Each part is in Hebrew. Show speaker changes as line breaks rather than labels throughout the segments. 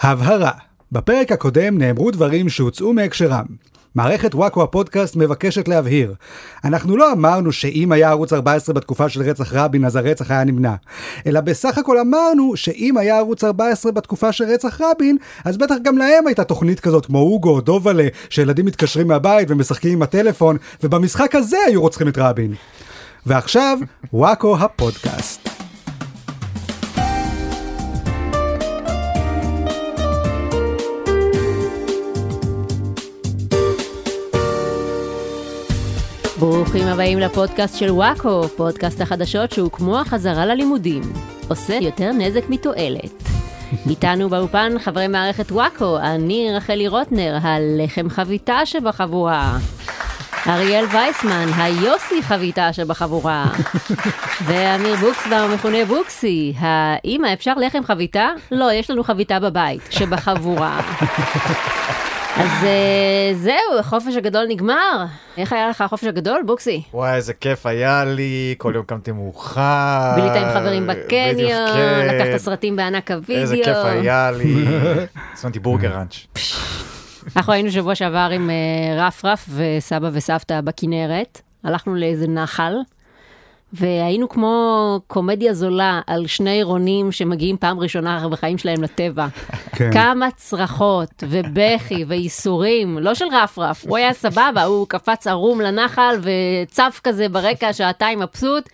הבהרה בפרק הקודם נאמרו דברים שהוצאו מהקשרם. מערכת וואקו הפודקאסט מבקשת להבהיר. אנחנו לא אמרנו שאם היה ערוץ 14 בתקופה של רצח רבין אז הרצח היה נמנע. אלא בסך הכל אמרנו שאם היה ערוץ 14 בתקופה של רצח רבין, אז בטח גם להם הייתה תוכנית כזאת כמו אוגו או דובלה, שילדים מתקשרים מהבית ומשחקים עם הטלפון, ובמשחק הזה היו רוצחים את רבין. ועכשיו, וואקו הפודקאסט.
ברוכים הבאים לפודקאסט של וואקו, פודקאסט החדשות שהוא כמו החזרה ללימודים. עושה יותר נזק מתועלת. איתנו באולפן חברי מערכת וואקו, אני רחלי רוטנר, הלחם חביתה שבחבורה. אריאל וייסמן, היוסי חביתה שבחבורה. ואמיר בוקסבאום, מכונה בוקסי, האמא, אפשר לחם חביתה? לא, יש לנו חביתה בבית, שבחבורה. אז אה, זהו, החופש הגדול נגמר. איך היה לך החופש הגדול, בוקסי?
וואי, איזה כיף היה לי, כל יום קמתי מאוחר.
בילית עם חברים בקניון,
אה, בדיוק, כן.
לקחת סרטים בענק הווידאו.
איזה כיף היה לי. הזמנתי בורגר ראנץ'.
אנחנו היינו שבוע שעבר עם אה, רף רף וסבא וסבתא בכנרת, הלכנו לאיזה נחל, והיינו כמו קומדיה זולה על שני עירונים שמגיעים פעם ראשונה בחיים שלהם לטבע.
כן.
כמה צרחות ובכי וייסורים, לא של רפרף, הוא היה סבבה, הוא קפץ ערום לנחל וצף כזה ברקע, שעתיים מבסוט,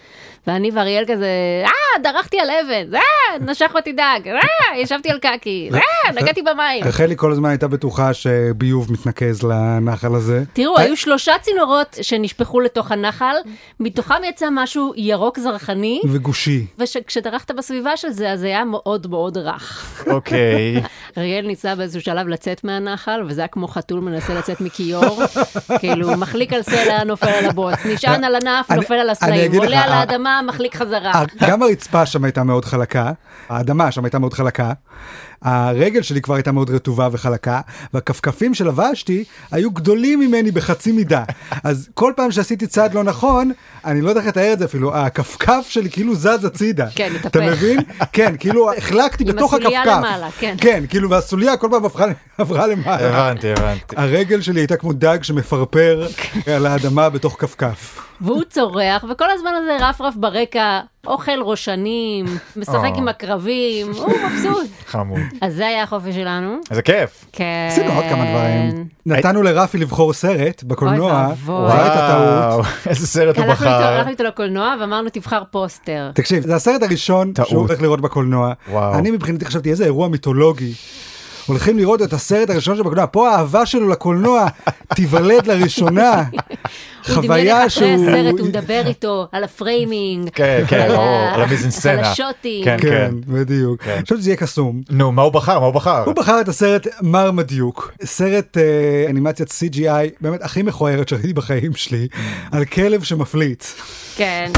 ואני ואריאל כזה, אה, דרכתי על אבן, אה, נשך אותי דג, אה, ישבתי על קקי, אה, נגעתי במים.
רחלי כל הזמן הייתה בטוחה שביוב מתנקז לנחל הזה.
תראו, היו שלושה צינורות שנשפכו לתוך הנחל, מתוכם יצא משהו ירוק זרחני,
וגושי.
וכשדרכת בסביבה של זה, אז זה היה מאוד מאוד רך.
אוקיי.
אריאל ניסה באיזשהו שלב לצאת מהנחל, וזה היה כמו חתול מנסה לצאת מכיור, כאילו, מחליק על סלע, נופל על הבוץ, נשען על ענף,
אני-
נופל על
אני
הסלעים,
אגיד לך, אה,
עולה על
ה-
האדמה, מחליק חזרה.
אה, גם הרצפה שם הייתה מאוד חלקה, האדמה שם הייתה מאוד חלקה, הרגל שלי כבר הייתה מאוד רטובה וחלקה, והכפכפים שלבשתי היו גדולים ממני בחצי מידה. אז כל פעם שעשיתי צעד לא נכון, אני לא יודע איך לתאר את זה אפילו, הכפכף שלי כאילו זז הצידה.
כן, התהפך.
אתה מבין? כן, כאילו החלקתי
עם
בתוך הכפכף.
הסוליה למעלה, כן.
כן, כאילו, והסוליה כל פעם הפכה- עברה למעלה.
הבנתי, הבנתי.
הרגל שלי הייתה כמו דג שמפרפר על האדמה בתוך כפכף.
והוא צורח, וכל הזמן הזה רפרף ברקע, אוכל ראשנים, משחק
אה.
עם הקרבים, הוא מבסוט.
חמוד.
אז זה היה החופש שלנו.
איזה כיף.
כן.
עשינו עוד כמה דברים. נתנו לרפי לבחור סרט בקולנוע,
אה, אוי ואבוי.
זו הייתה טעות.
איזה סרט הוא
הלכנו איתו-
בחר.
הלכנו איתו לקולנוע ואמרנו תבחר פוסטר.
תקשיב, זה הסרט הראשון
טעות.
שהוא הולך לראות בקולנוע.
וואו.
אני מבחינתי חשבתי איזה אירוע מיתולוגי. הולכים לראות את הסרט הראשון שבקולנוע, פה האהבה שלו לקולנוע תיוולד לראשונה.
הוא דמיין
חוויה
איך אחרי
שהוא...
הסרט הוא מדבר איתו על הפריימינג,
כן, כן,
על ה-
ברור, על המיזנסצנה.
על השוטים.
כן.
כן, בדיוק.
כן.
חשבתי שזה יהיה קסום.
נו, מה הוא בחר? מה הוא בחר?
הוא בחר את הסרט מרמדיוק, סרט אה, אנימציית CGI באמת הכי מכוערת שראיתי בחיים שלי, על כלב שמפליץ.
כן.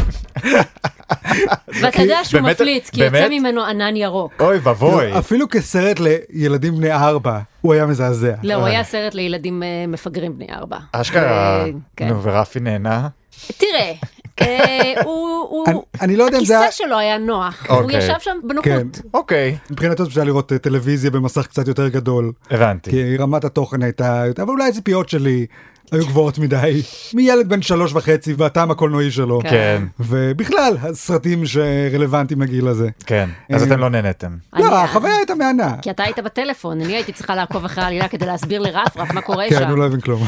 ואתה יודע שהוא
באמת-
מפליץ, כי יוצא
באמת? אה.
ממנו ענן ירוק.
אוי ואבוי.
כאילו, אפילו כסרט לילדים בני ארבע, הוא היה מזעזע.
לא, הוא היה סרט לילדים אה, מפגרים בני ארבע.
אשכרה.
אה, כן.
נו, ורפי נהנה?
תראה, אה, הוא-
אני-
הוא...
אני לא יודע אם זה היה...
הכיסא שלו היה נוח, הוא
אוקיי.
ישב שם
כן,
בנוחות.
אוקיי.
מבחינתו זה פשוט היה לראות אה, טלוויזיה במסך קצת יותר גדול,
הבנתי.
כן.
כי רמת התוכן הייתה, אבל אולי הציפיות שלי היו גבוהות מדי, מילד בן שלוש וחצי והטעם הקולנועי שלו,
כן,
ובכלל הסרטים שרלוונטיים לגיל הזה.
כן.
אה.
אז אתם לא נהנתם.
לא,
אני- כן.
החוויה הייתה מהנה.
כי אתה היית בטלפון, אני הייתי צריכה לעקוב אחרי העלילה כדי להסביר לרפרף מה קורה
כן,
שם.
הוא לא הבין כלום.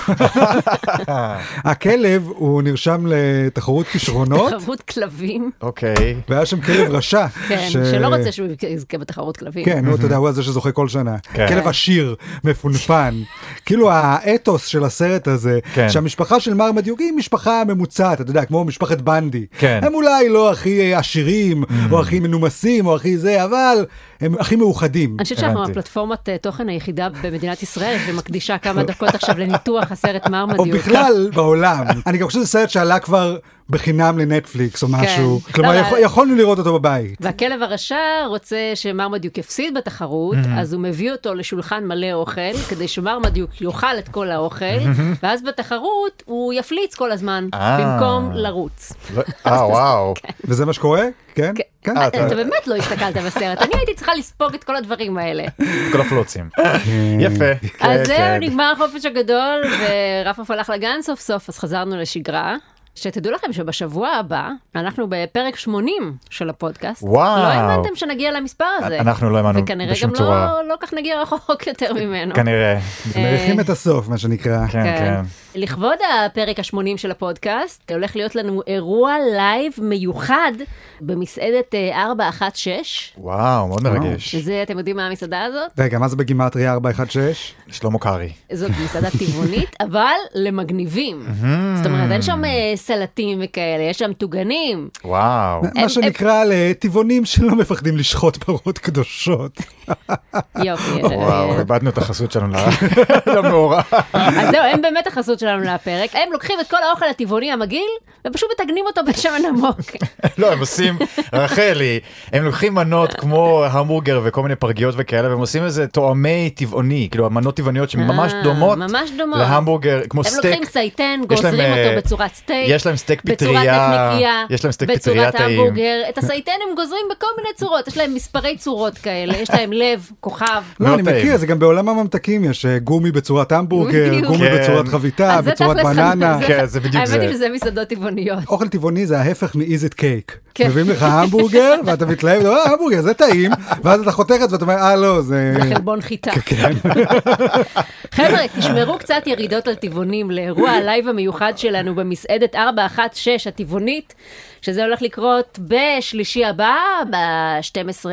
הכלב, הוא נרשם לתחרות כישרונות,
תחרות כלבים,
אוקיי.
והיה שם כלב רשע.
כן,
ש-
שלא רוצה שהוא יזכה בתחרות כלבים.
כן, נו, אתה יודע, הוא הזה שזוכה כל שנה.
כן.
כלב עשיר, מפונפן. כאילו האתוס של הסרט הזה,
כן.
שהמשפחה של מר מדיוק היא משפחה ממוצעת, אתה יודע, כמו משפחת בנדי.
כן. Mm.
הם אולי לא הכי אה, עשירים, או הכי מנומסים, או הכי זה, אבל הם הכי מאוחדים.
אני חושבת שאנחנו
הבנתי.
הפלטפורמת אה, תוכן היחידה במדינת ישראל שמקדישה כמה דקות עכשיו לניתוח הסרט
או
מרמדיוק.
בכלל בעולם. אני גם חושב שזה סרט שעלה כבר בחינם לנטפליקס או משהו.
לא,
כלומר,
לא.
יכול- יכולנו לראות אותו בבית.
והכלב הרשע רוצה שמרמדיוק יפסיד בתחרות, אז הוא מביא אותו לשולחן מלא אוכל, כדי שמרמדיוק יאכל את כל האוכל, ואז בתחרות הוא יפליץ כל הזמן,
אה.
במקום לרוץ.
לא- אה, וואו.
וזה מה שקורה? כן?
כן,
כן.
אה,
אתה
אתה-
באמת לא הסתכלת בסרט, אני הייתי צריכה לספוג את כל הדברים האלה.
כל הפלוצים. יפה.
כן, אז
כן,
זהו,
כן.
נגמר החופש הגדול, ורפאף הלך לגן סוף סוף, אז חזרנו לשגרה. שתדעו לכם שבשבוע הבא, אנחנו בפרק 80 של הפודקאסט.
וואו.
לא האמנתם שנגיע למספר הזה.
אנחנו לא האמנו
וכנראה גם
בשום צורה.
לא, לא כך נגיע רחוק יותר ממנו. אה,
כנראה.
כן.
מריחים את הסוף, מה שנקרא.
כן, כן.
לכבוד הפרק ה-80 של הפודקאסט, הולך להיות לנו אירוע לייב מיוחד במסעדת אה, 416.
וואו, מאוד מרגש.
שזה, אתם יודעים מה המסעדה הזאת?
רגע, מה זה בגימטריה 416?
שלמה קרעי.
זאת מסעדה טבעונית, אבל למגניבים. זאת אומרת, אין שם אה, סלטים וכאלה, יש שם טוגנים.
וואו.
מה שנקרא לטבעונים שלא מפחדים לשחוט פרות קדושות.
יופי. אה,
וואו, איבדנו את החסות שלנו ל- למאורע.
אז זהו, הם באמת החסות שלנו לפרק. הם לוקחים את כל האוכל הטבעוני המגעיל, ופשוט מתגנים אותו בשמן עמוק.
לא, הם עושים, רחלי, הם לוקחים מנות כמו המבורגר וכל מיני פרגיות וכאלה, והם עושים איזה טועמי טבעוני, כאילו מנות טבעוניות שממש
אה,
דומות
ממש דומות.
להמבורגר, כמו
הם
סטייק.
לוקחים צייתן,
יש להם,
גוזרים
אה,
אותו בצורת סטייק,
יש להם סטייק
בצורת
פטריה,
נקניקייה,
יש להם סטייק
בצורת
פטריה טעים.
המבורגר, את הסייתן הם גוזרים בכל מיני צורות, יש להם מספרי צורות כאלה, יש להם לב, כוכב.
לא,
מאוד
אני
טעים.
מכיר, זה גם בעולם הממתקים, יש אה, גומי בצורת המבורגר,
בדיוק.
גומי
כן.
בצורת חביתה,
אז זה
לא, בצורת
תכלס-
בננה.
כן, זה בדיוק
האמת היא
זה.
שזה מסעדות טבעוניות.
אוכל טבעוני זה ההפך מ-Is it cake.
כן.
מביאים לך המבורגר, ואתה מתלהב, אה, המבורגר זה טעים, ואז אתה חותך את זה ואתה אומר, אה, לא, זה...
זה חלבון חיטה. חבר'ה, תשמרו קצת ירידות על טבעונים לאירוע הלייב המיוחד שלנו במסעדת 416 הטבעונית, שזה הולך לקרות בשלישי הבא, ב-12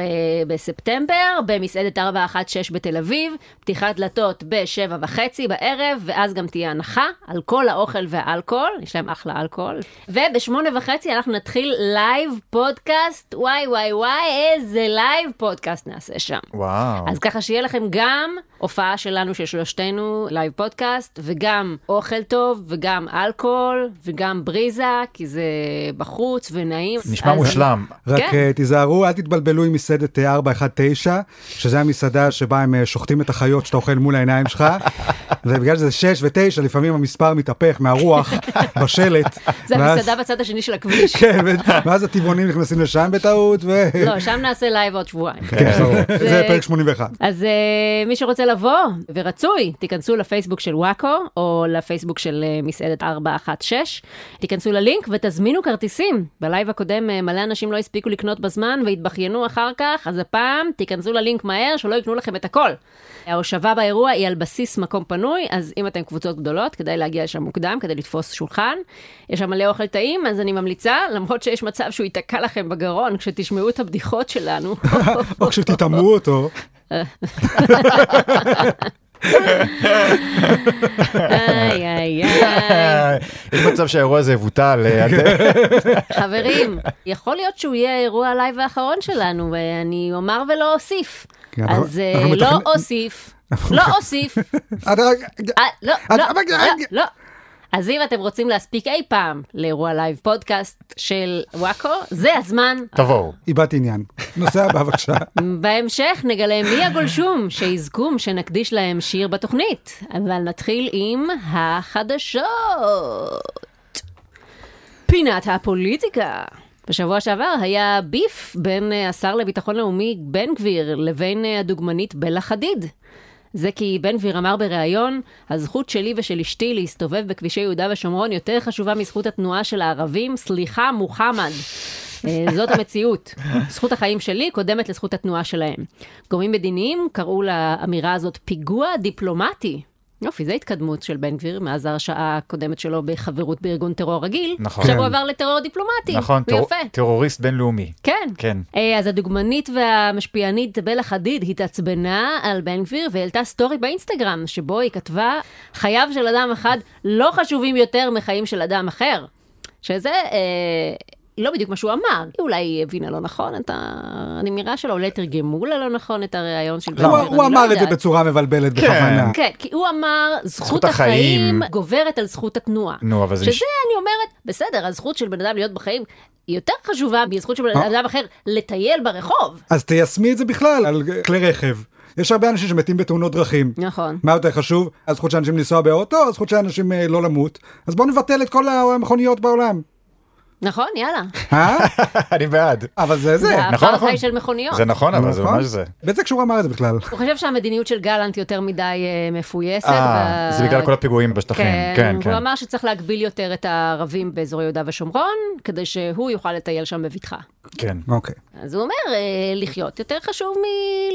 בספטמבר, במסעדת 416 בתל אביב, פתיחת דלתות ב-7 וחצי בערב, ואז גם תהיה הנחה על כל האוכל והאלכוהול, יש להם אחלה אלכוהול. וב-8 וחצי אנחנו נתחיל לייב פודקאסט, וואי וואי וואי, איזה לייב פודקאסט נעשה שם.
וואו.
אז ככה שיהיה לכם גם הופעה שלנו של שלושתנו, לייב פודקאסט, וגם אוכל טוב, וגם אלכוהול, וגם בריזה, כי זה בחוץ ונעים.
נשמע
אז-
מושלם.
רק
כן.
אה, תיזהרו, אל תתבלבלו עם מסעדת אה, 419, שזה המסעדה שבה הם אה, שוחטים את החיות שאתה אוכל מול העיניים שלך, ובגלל שזה 6 ו-9, לפעמים המספר מתהפך מהרוח בשלט.
זה
ואז-
המסעדה בצד השני של הכביש.
כן, ו- ואז הטבעונים נכנסים לשם בטעות, ו...
לא, שם נעשה לייב עוד שבועיים.
כן, ברור. זה
זה-
פרק 81.
אז uh, מי שרוצה לבוא, ורצוי, תיכנסו לפייסבוק של וואקו, או לפייסבוק של uh, מסעדת 416, תיכנסו ללינק ותזמינו כרטיסים. בלייב הקודם uh, מלא אנשים לא הספיקו לקנות בזמן והתבכיינו אחר כך, אז הפעם תיכנסו ללינק מהר, שלא יקנו לכם את הכל. ההושבה באירוע היא על בסיס מקום פנוי, אז אם אתם קבוצות גדולות, כדאי להגיע לשם מוקדם, כדי לתפוס שולחן. יש שם מלא אוכל טעים, אז אני ממליצה, למרות שיש מצב שהוא ייתקע לכם בגרון כשתשמעו את הבדיחות שלנו.
או כשתטמאו אותו,
איי, איי, איי.
יש מצב שהאירוע הזה יבוטל. אה,
חברים, יכול להיות שהוא יהיה האירוע הלייב האחרון שלנו, ואני אומר ולא אוסיף.
כן, אבל-
אז אה,
אנחנו
לא
מתכנ-
אוסיף, לא אוסיף,
עד רגע-
אה, לא,
אה,
לא,
אבל-
לא, לא. אז אם אתם רוצים להספיק אי פעם לאירוע לייב פודקאסט של וואקו, זה הזמן.
תבואו.
איבדתי עניין. נושא הבא בבקשה.
בהמשך נגלה מי הגולשום שיזכום שנקדיש להם שיר בתוכנית. אבל נתחיל עם החדשות. פינת הפוליטיקה. בשבוע שעבר היה ביף בין אה, השר לביטחון לאומי בן גביר לבין אה, הדוגמנית בלה חדיד. זה כי בן גביר אמר בריאיון, הזכות שלי ושל אשתי להסתובב בכבישי יהודה ושומרון יותר חשובה מזכות התנועה של הערבים, סליחה מוחמד. אה, זאת המציאות. זכות החיים שלי קודמת לזכות התנועה שלהם. גורמים מדיניים קראו לאמירה הזאת פיגוע דיפלומטי. יופי, זו התקדמות של בן גביר מאז ההרשעה הקודמת שלו בחברות בארגון טרור רגיל.
נכון.
עכשיו הוא
כן.
עבר לטרור דיפלומטי.
נכון,
הוא
טרור-
אה, יפה.
טרוריסט בינלאומי.
כן.
כן.
אה, אז הדוגמנית והמשפיענית בלה חדיד התעצבנה על בן גביר והעלתה סטורי באינסטגרם, שבו היא כתבה, חייו של אדם אחד לא חשובים יותר מחיים של אדם אחר. שזה אה, לא בדיוק מה שהוא אמר. היא אולי היא הבינה לא נכון את האמירה שלו, אולי תרגמו לה לא נכון את הריאיון של בן גביר.
הוא-
אני
הוא
לא
אמר את זה
יודעת.
בכצורה מבלבלת בכוונה.
כן, כי הוא אמר, זכות
זכות
החיים
החיים
גוברת על זכות התנועה.
נו, אבל זה
שזה,
נש-
אני אומרת, בסדר, הזכות של בן אדם להיות בחיים היא יותר חשובה מזכות של בן
אה.
אדם אחר לטייל ברחוב.
אז תיישמי את זה בכלל על כלי רכב. יש הרבה אנשים שמתים בתאונות דרכים.
נכון.
מה יותר חשוב? הזכות של אנשים לנסוע באוטו, הזכות של אנשים אה, לא למות. אז בואו נבטל את כל המכוניות בעולם.
נכון, יאללה.
אה?
אני בעד.
אבל זה זה.
זה
נכון, נכון.
האפרטהייד של מכוניות.
זה נכון, אבל זה
נכון?
ממש זה.
בצדק שהוא אמר את זה בכלל.
הוא חושב שהמדיניות של גלנט יותר מדי אה, מפויסת.
אה,
ו-
זה בגלל כל הפיגועים בשטחים, כן, כן.
הוא אמר שצריך להגביל יותר את הערבים באזור יהודה ושומרון, כדי שהוא יוכל לטייל שם בבטחה.
כן.
אוקיי.
אז הוא אומר, אה, לחיות יותר חשוב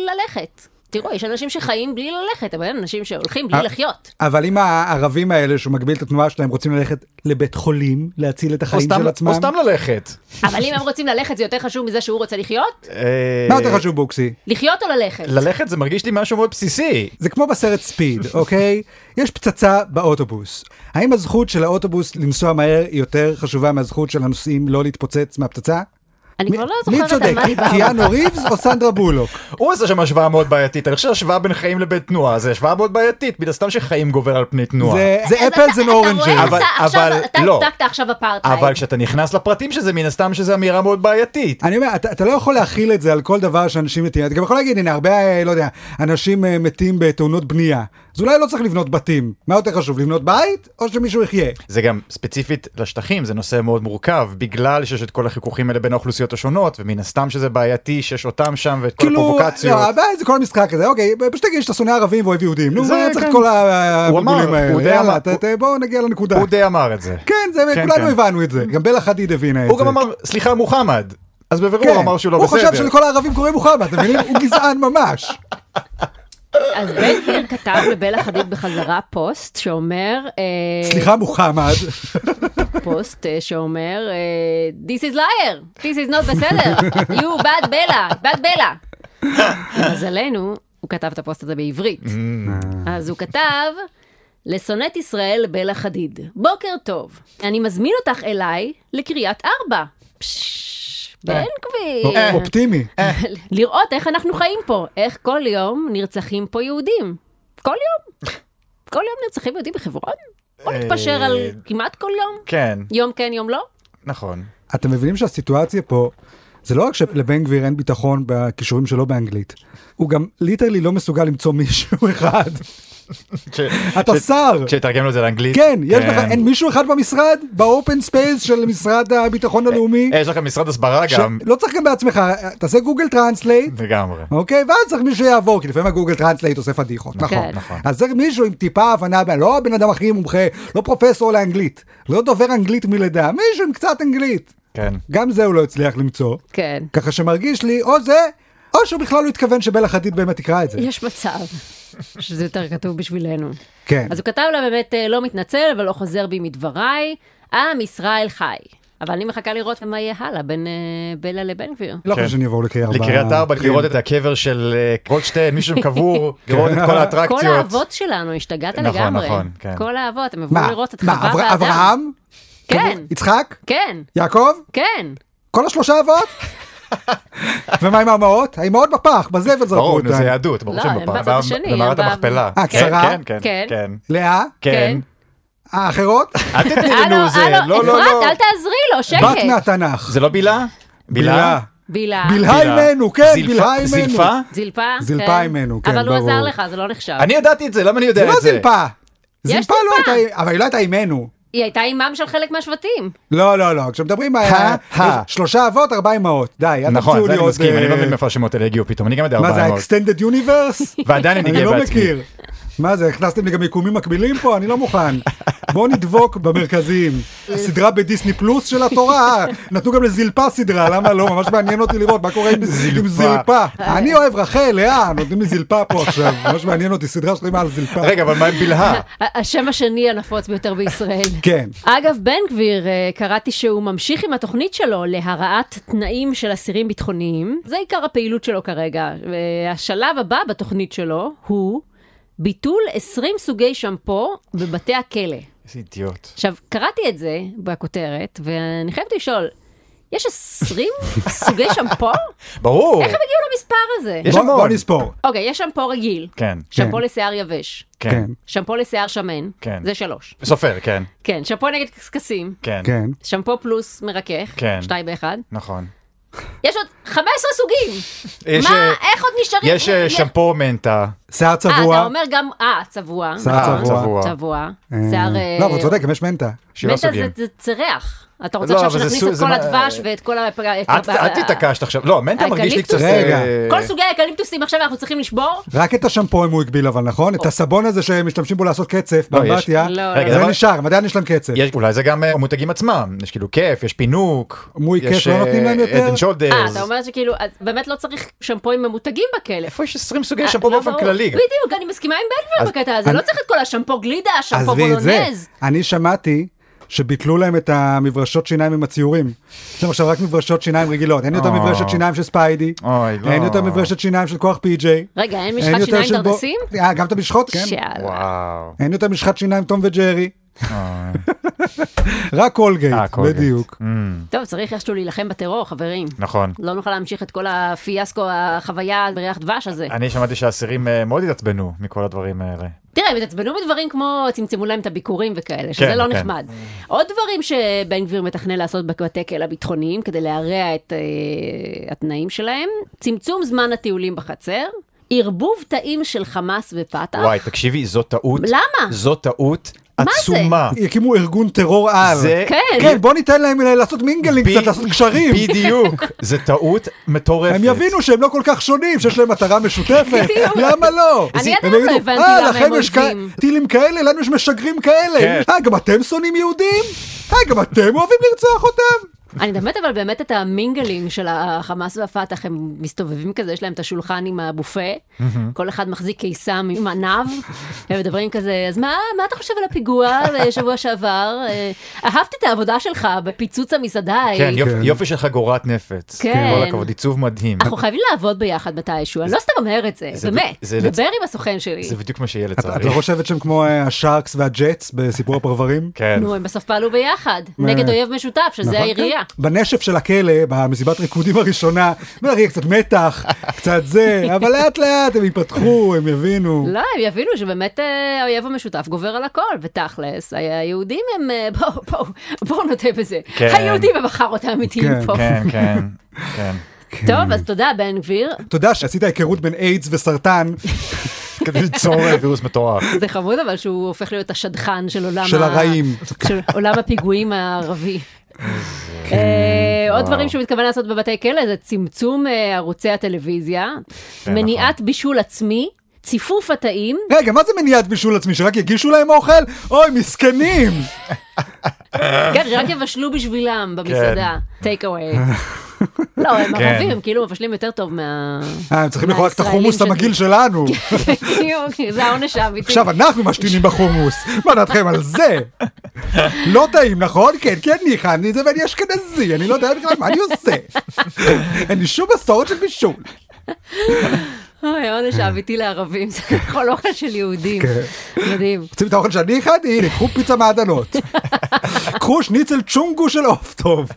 מללכת. תראו, יש אנשים שחיים בלי ללכת, אבל אין אנשים שהולכים בלי
אה.
לחיות.
אבל אם הערבים האלה שהוא מגביל את התנועה שלהם רוצים ללכת לבית חולים להציל את
או
החיים
סתם-
של עצמם.
או סתם ללכת.
אבל אם הם רוצים ללכת, זה יותר חשוב מזה שהוא רוצה לחיות?
אה,
מה יותר חשוב בוקסי?
לחיות או ללכת?
ללכת זה מרגיש לי משהו מאוד בסיסי.
זה כמו בסרט ספיד, אוקיי? יש פצצה באוטובוס. האם הזכות של האוטובוס לנסוע מהר היא יותר חשובה מהזכות של הנוסעים לא להתפוצץ מהפצצה?
אני כבר לא
מי
זוכרת על
צודק,
מה דיברנו.
קיאנו ריבס או סנדרה בולוק?
הוא עשה שם השוואה מאוד בעייתית, אני חושב שהשוואה בין חיים לבין תנועה זה השוואה מאוד בעייתית, מן הסתם שחיים גובר על פני תנועה.
זה- זה
אז
אפל
אתה-
זה
אתה
אורנג'ים.
רואה,
אבל-
אתה עכשיו-
אבל
אתה
לא.
הצדקת עכשיו אפרטהייד.
אבל כשאתה נכנס לפרטים של זה, מן הסתם שזו אמירה מאוד בעייתית.
אני אומר, אתה, אתה לא יכול להכיל את זה על כל דבר שאנשים מתים. אתה גם יכול להגיד, הנה, הרבה, אה, לא יודע, אנשים אה, מתים בתאונות בנייה. אז אולי לא צריך לבנות בתים. מה יותר חשוב, לבנות בית או שמישהו יחיה?
זה גם ספציפית לשטחים, זה נושא מאוד מורכב, בגלל שיש את כל החיכוכים האלה בין האוכלוסיות השונות, ומן הסתם שזה בעייתי שיש אותם שם ואת כל הפרובוקציות.
לא, הבעיה זה כל המשחק הזה, אוקיי, פשוט תגיד שאתה שונא ערבים ואוהב יהודים. נו,
זה,
מה צריך את
כן.
כל
הוא אמר,
הבלבולים האלה?
הוא די
יאללה,
אמר,
ת-
הוא-
ת- בואו נגיע לנקודה.
הוא די אמר את זה.
כן, זה,
כן,
כולנו
כן.
הבנו את זה. גם בלה חדיד הבינה את זה.
הוא גם אמר, סליחה מוחמד. אז בבירור
כן,
הוא אמר שהוא לא
הוא
בסדר.
חשב שלכל הערבים קוראים מוחמד, אתם מבינים? הוא גזען ממש.
אז בן גביר כתב לבלה חדיד בחזרה פוסט שאומר... אה,
סליחה, מוחמד.
פוסט אה, שאומר, אה, This is liar, this is not בסדר, you bad בלה, bad בלה. למזלנו, הוא כתב את הפוסט הזה בעברית. אז הוא כתב, לשונאת ישראל בלה חדיד, בוקר טוב, אני מזמין אותך אליי לקריית ארבע. פשש, בן גביר.
אה.
הוא אופטימי.
לראות איך אנחנו חיים פה, איך כל יום נרצחים פה יהודים. כל יום. כל יום נרצחים יהודים בחברון? בוא נתפשר על
אה,
כמעט כל יום.
כן,
יום כן, יום לא?
נכון.
אתם מבינים שהסיטואציה פה, זה לא רק שלבן גביר אין ביטחון בכישורים שלו באנגלית, הוא גם ליטרלי לא מסוגל למצוא מישהו אחד.
ש-
אתה
ש-
שר.
שיתרגם לו את זה לאנגלית.
כן, יש לך, אין מישהו אחד במשרד? באופן ספייס של משרד הביטחון הלאומי?
אה, יש לכם משרד הסברה
ש-
גם.
לא צריך גם בעצמך, תעשה גוגל טרנסלייט.
לגמרי.
אוקיי, ואז צריך מישהו יעבור, כי לפעמים הגוגל טרנסלייט עושה פדיחות, נכון,
כן.
נכון.
נכון.
אז צריך מישהו עם טיפה הבנה, לא הבן אדם הכי מומחה, לא פרופסור לאנגלית, לא דובר אנגלית מלידה, מישהו עם קצת אנגלית.
כן.
גם זה הוא לא הצליח למצוא.
כן.
ככה שמרגיש לי, או זה, או שהוא בכלל לא התכוון שבלה חדיד באמת תקרא את זה.
יש מצב שזה יותר כתוב בשבילנו.
כן.
אז הוא כתב לה באמת, אה, לא מתנצל, אבל לא חוזר בי מדבריי, עם ישראל חי. אבל אני מחכה לראות מה יהיה הלאה בין אה, בלה לבן גביר.
לא חושב
כן.
שאני אעבור לקריית ארבע.
לקריית ארבע, לראות את הקבר של אה, גולדשטיין, מישהו קבור, לראות את כל האטרקציות.
כל האבות שלנו, השתגעת
נכון,
לגמרי.
נכון, כן.
כל האבות, הם עברו
מה,
לראות את
מה,
חווה
אבר-
ואדם.
אברהם?
כן,
יצחק?
כן,
יעקב?
כן.
כל השלושה אבות? ומה עם האמהות? האמהות בפח, בזבל זרקו
ברור, נו,
אותן.
זה לא, יהדות, ברור
לא,
שהם
הם
בפעם.
בצד השני, הם
במערת
ב-
המכפלה.
אה,
כן,
שרה?
כן,
כן.
כן, כן.
לאה?
כן.
האחרות?
אל תתני
הלו,
לנו זה,
הלו,
לא, לא,
אה, אפרת,
לא.
אל תעזרי לו,
בת
שקט.
מהתנ"ך.
זה לא בילה?
בלהה.
בילה?
בילה.
בלהה
בילה.
אימנו, כן,
זילפה-
בלהה אימנו.
זילפה?
זילפה?
זילפה
כן.
אימנו, כן,
אבל הוא
ברור.
עזר לך, זה לא נחשב.
אני ידעתי את זה, למה אני יודע
זה לא
את זה?
זלפה.
יש
זלפה לא
זלפה.
הייתה, אבל היא לא הייתה אימנו.
היא הייתה אימם של חלק מהשבטים.
לא, לא, לא, כשמדברים על
ה- ה-
שלושה אבות, ארבע אמהות. די, אל
נכון,
תמצאו
זה
לי
אני
עוד...
מסכים, אני לא
אה,
מבין מאיפה השמות האלה הגיעו פתאום, אני גם יודע
מה זה
ארבעה אמהות.
ה-extended universe?
ועדיין אני
אני
גאה
לא
בעצמי.
מכיר. מה זה, הכנסתם לי גם מיקומים מקבילים פה? אני לא מוכן. בואו נדבוק במרכזיים. סדרה בדיסני פלוס של התורה, נתנו גם לזלפה סדרה, למה לא? ממש מעניין אותי לראות מה קורה עם עם זלפה. אני אוהב רחל, לאה, נותנים לי זלפה פה עכשיו. ממש מעניין אותי, סדרה שלמה על זלפה.
רגע, אבל מה עם בלהה?
ה- השם השני הנפוץ ביותר בישראל.
כן.
אגב, בן גביר, אה, קראתי שהוא ממשיך עם התוכנית שלו להרעת תנאים של אסירים ביטחוניים. זה עיקר הפעילות שלו כרגע. אה, השלב הבא בתוכנית שלו הוא ביטול 20 סוגי שמפו בבתי הכלא.
איזה אידיוט.
עכשיו, קראתי את זה בכותרת, ואני חייבת לשאול, יש 20 סוגי שמפו?
ברור.
איך הם הגיעו למספר הזה?
יש
בוא-
המון.
בוא נספור.
אוקיי, יש שמפו רגיל,
כן,
שמפו לשיער יבש,
כן,
שמפו לשיער שמן,
כן.
זה שלוש.
סופר, כן,
כן, שמפו נגד קשקשים,
כן,
כן.
שמפו פלוס מרכך,
כן.
שתיים באחד.
נכון.
יש עוד 15 סוגים!
יש,
מה,
אה,
איך עוד נשארים?
יש אה, שמפו מנטה,
שיער
אה, אתה
צבוע.
אומר גם, אה, צבוע.
שיער
נכון,
צבוע.
צבוע.
אה,
שיער... אה,
לא, אבל הוא צודק, גם יש מנטה.
שבעה
מטא
סוגים.
זה- זה צרח. אתה רוצה
לא,
עכשיו
אבל זה
שנכניס
סוג-
את
זה
כל
מה- אה,
הדבש ואת כל ה...
את- את התעקשת עכשיו, לא, מנטה מרגיש לי קצת...
רגע.
אה,
כל סוגי האקליפטוסים עכשיו אנחנו צריכים לשבור?
רק את השמפו הם הוא הגביל אבל, נכון? את הסבון הזה שמשתמשים בו לעשות קצף,
לא, יש-
באמבטיה,
לא,
רגע,
לא.
זה
דבר-
נשאר, הם עדיין יש להם קצף.
יש, אולי זה גם אה, המותגים עצמם, יש כאילו כיף, יש פינוק,
מוי כיף,
יש אה,
לא נותנים להם יותר?
אדן שולדרס.
אה, אתה אומר שכאילו, אז באמת לא צריך שמפוים ממותגים בכלא.
איפה יש 20 סוגי
אה,
שמפו
לא
באופן
ברור.
כללי?
בדיוק, אני מסכימה עם בן גביר
אז
בקטע הזה,
אני-
לא צריך את כל השמפו גלידה, השמפו
עזבי את זה.
בולונז.
אני שמעתי שביטלו להם את המברשות שיניים עם הציורים. יש שם עכשיו רק מברשות שיניים רגילות, אין יותר
אה.
מברשת שיניים של ספיידי,
אוי, לא.
אין יותר מברשת שיניים של כוח פי.ג'יי.
רגע, אין
אין
משחק
יותר
שיניים
של בו-
דרדסים?
אה, גם את המשחות, כן.
שאלה.
וואו.
אין יותר משחת שיניים תום וג'רי. רק
אה,
קולגייט,
קולגייט.
בדיוק.
טוב, צריך איכשהו להילחם בטרור, חברים.
נכון.
לא נוכל להמשיך את כל הפיאסקו, החוויה בריח דבש הזה.
אני שמעתי שהאסירים אה, מאוד התעצבנו מכל הדברים האלה.
תראה, הם התעצבנו בדברים כמו צמצמו להם את הביקורים וכאלה, שזה
כן,
לא
כן.
נחמד. עוד דברים שבן גביר מתכנן לעשות בבתי כלא הביטחוניים כדי להרע את אה, התנאים שלהם, צמצום זמן הטיולים בחצר, ערבוב תאים של חמאס ופת"ח.
וואי, תקשיבי, זו טעות.
אה. למה?
זו טעות
מה זה?
עצומה.
יקימו ארגון טרור על.
זה
כן.
כן, בוא ניתן להם לעשות מינגלינג
ב-
קצת, לעשות קשרים.
בדיוק, זו טעות מטורפת.
הם יבינו שהם לא כל כך שונים, שיש להם מטרה משותפת,
בדיוק.
למה לא?
אני עד
הם
היום לא
יגידו,
הבנתי
"אה,
למה
לכם
הם
יש כ-
עוזבים."
טילים כאלה, לנו יש משגרים כאלה.
כן.
אה, גם אתם שונאים יהודים? אה, גם אתם אוהבים לרצוח אותם?
אני באמת, אבל באמת את המינגלים של החמאס והפת"ח, הם מסתובבים כזה, יש להם את השולחן עם הבופה, כל אחד מחזיק קיסם עם עניו, הם מדברים כזה, אז מה, מה אתה חושב על הפיגוע בשבוע שעבר? אה, אהבתי את העבודה שלך בפיצוץ המסעדה
כן,
ההיא.
יופי-
כן.
יופי של חגורת נפץ.
כן.
כל הכבוד, עיצוב מדהים.
אנחנו חייבים לעבוד ביחד מתישהו, אני לא סתם אומר את זה,
זה-
באמת,
זה-
דבר עם הסוכן שלי.
זה בדיוק מה שיהיה
את
לצערי.
לא חושבת שהם כמו אה, השארקס והג'טס בסיפור הפרברים?
כן.
נו, הם בסוף פעלו ביחד,
באמת.
נגד אויב משותף, שזה
נכון?
העירייה.
כן. בנשף של הכלא, במסיבת ריקודים הראשונה, בוא נראה קצת מתח, קצת זה, אבל לאט לאט הם יפתחו, הם יבינו.
לא, הם יבינו שבאמת אה, האויב המשותף גובר על הכל, ותכלס, ה- היהודים הם, אה, בואו, בואו, בואו נודה בזה.
כן.
היהודים הם החארות האמיתיים
כן,
פה.
כן, כן, כן.
טוב, אז תודה, בן גביר,
תודה שעשית היכרות בין איידס וסרטן
כדי ליצור
אה,
וירוס מטורף.
זה חמוד אבל שהוא הופך להיות השדכן של עולם
של
ה-
הרעים.
של עולם הפיגועים הערבי. אה, עוד דברים שהוא מתכוון לעשות בבתי כלא זה צמצום אה, ערוצי הטלוויזיה,
כן,
מניעת בישול עצמי, ציפוף התאים,
רגע, מה זה מניעת בישול עצמי? שרק יגישו להם אוכל? אוי, מסכנים!
כן, רק יבשלו בשבילם במסעדה,
כן.
טייק אווי. לא, הם
כן.
ערבים, הם כאילו מבשלים יותר טוב מה...
אה, הם צריכים לאכול רק את
מהישראלים
החומוס
של-
המגעיל שלנו.
בדיוק, כאילו, זה העונש האמיתי.
עכשיו אנחנו משתינים בחומוס, מה דעתכם על זה? לא טעים, נכון? כן, כי אני חני זה ואני אשכנזי, אני לא יודע בכלל מה אני עושה. אין לי שום מסורת של בישול.
אוי, העונש האמיתי לערבים, זה לאכול אוכל של יהודים.
כן.
מדהים.
רוצים את האוכל שאני הכנתי? הנה, קחו פיצה מעדנות. קחו שניצל צ'ונגו של עוף טוב.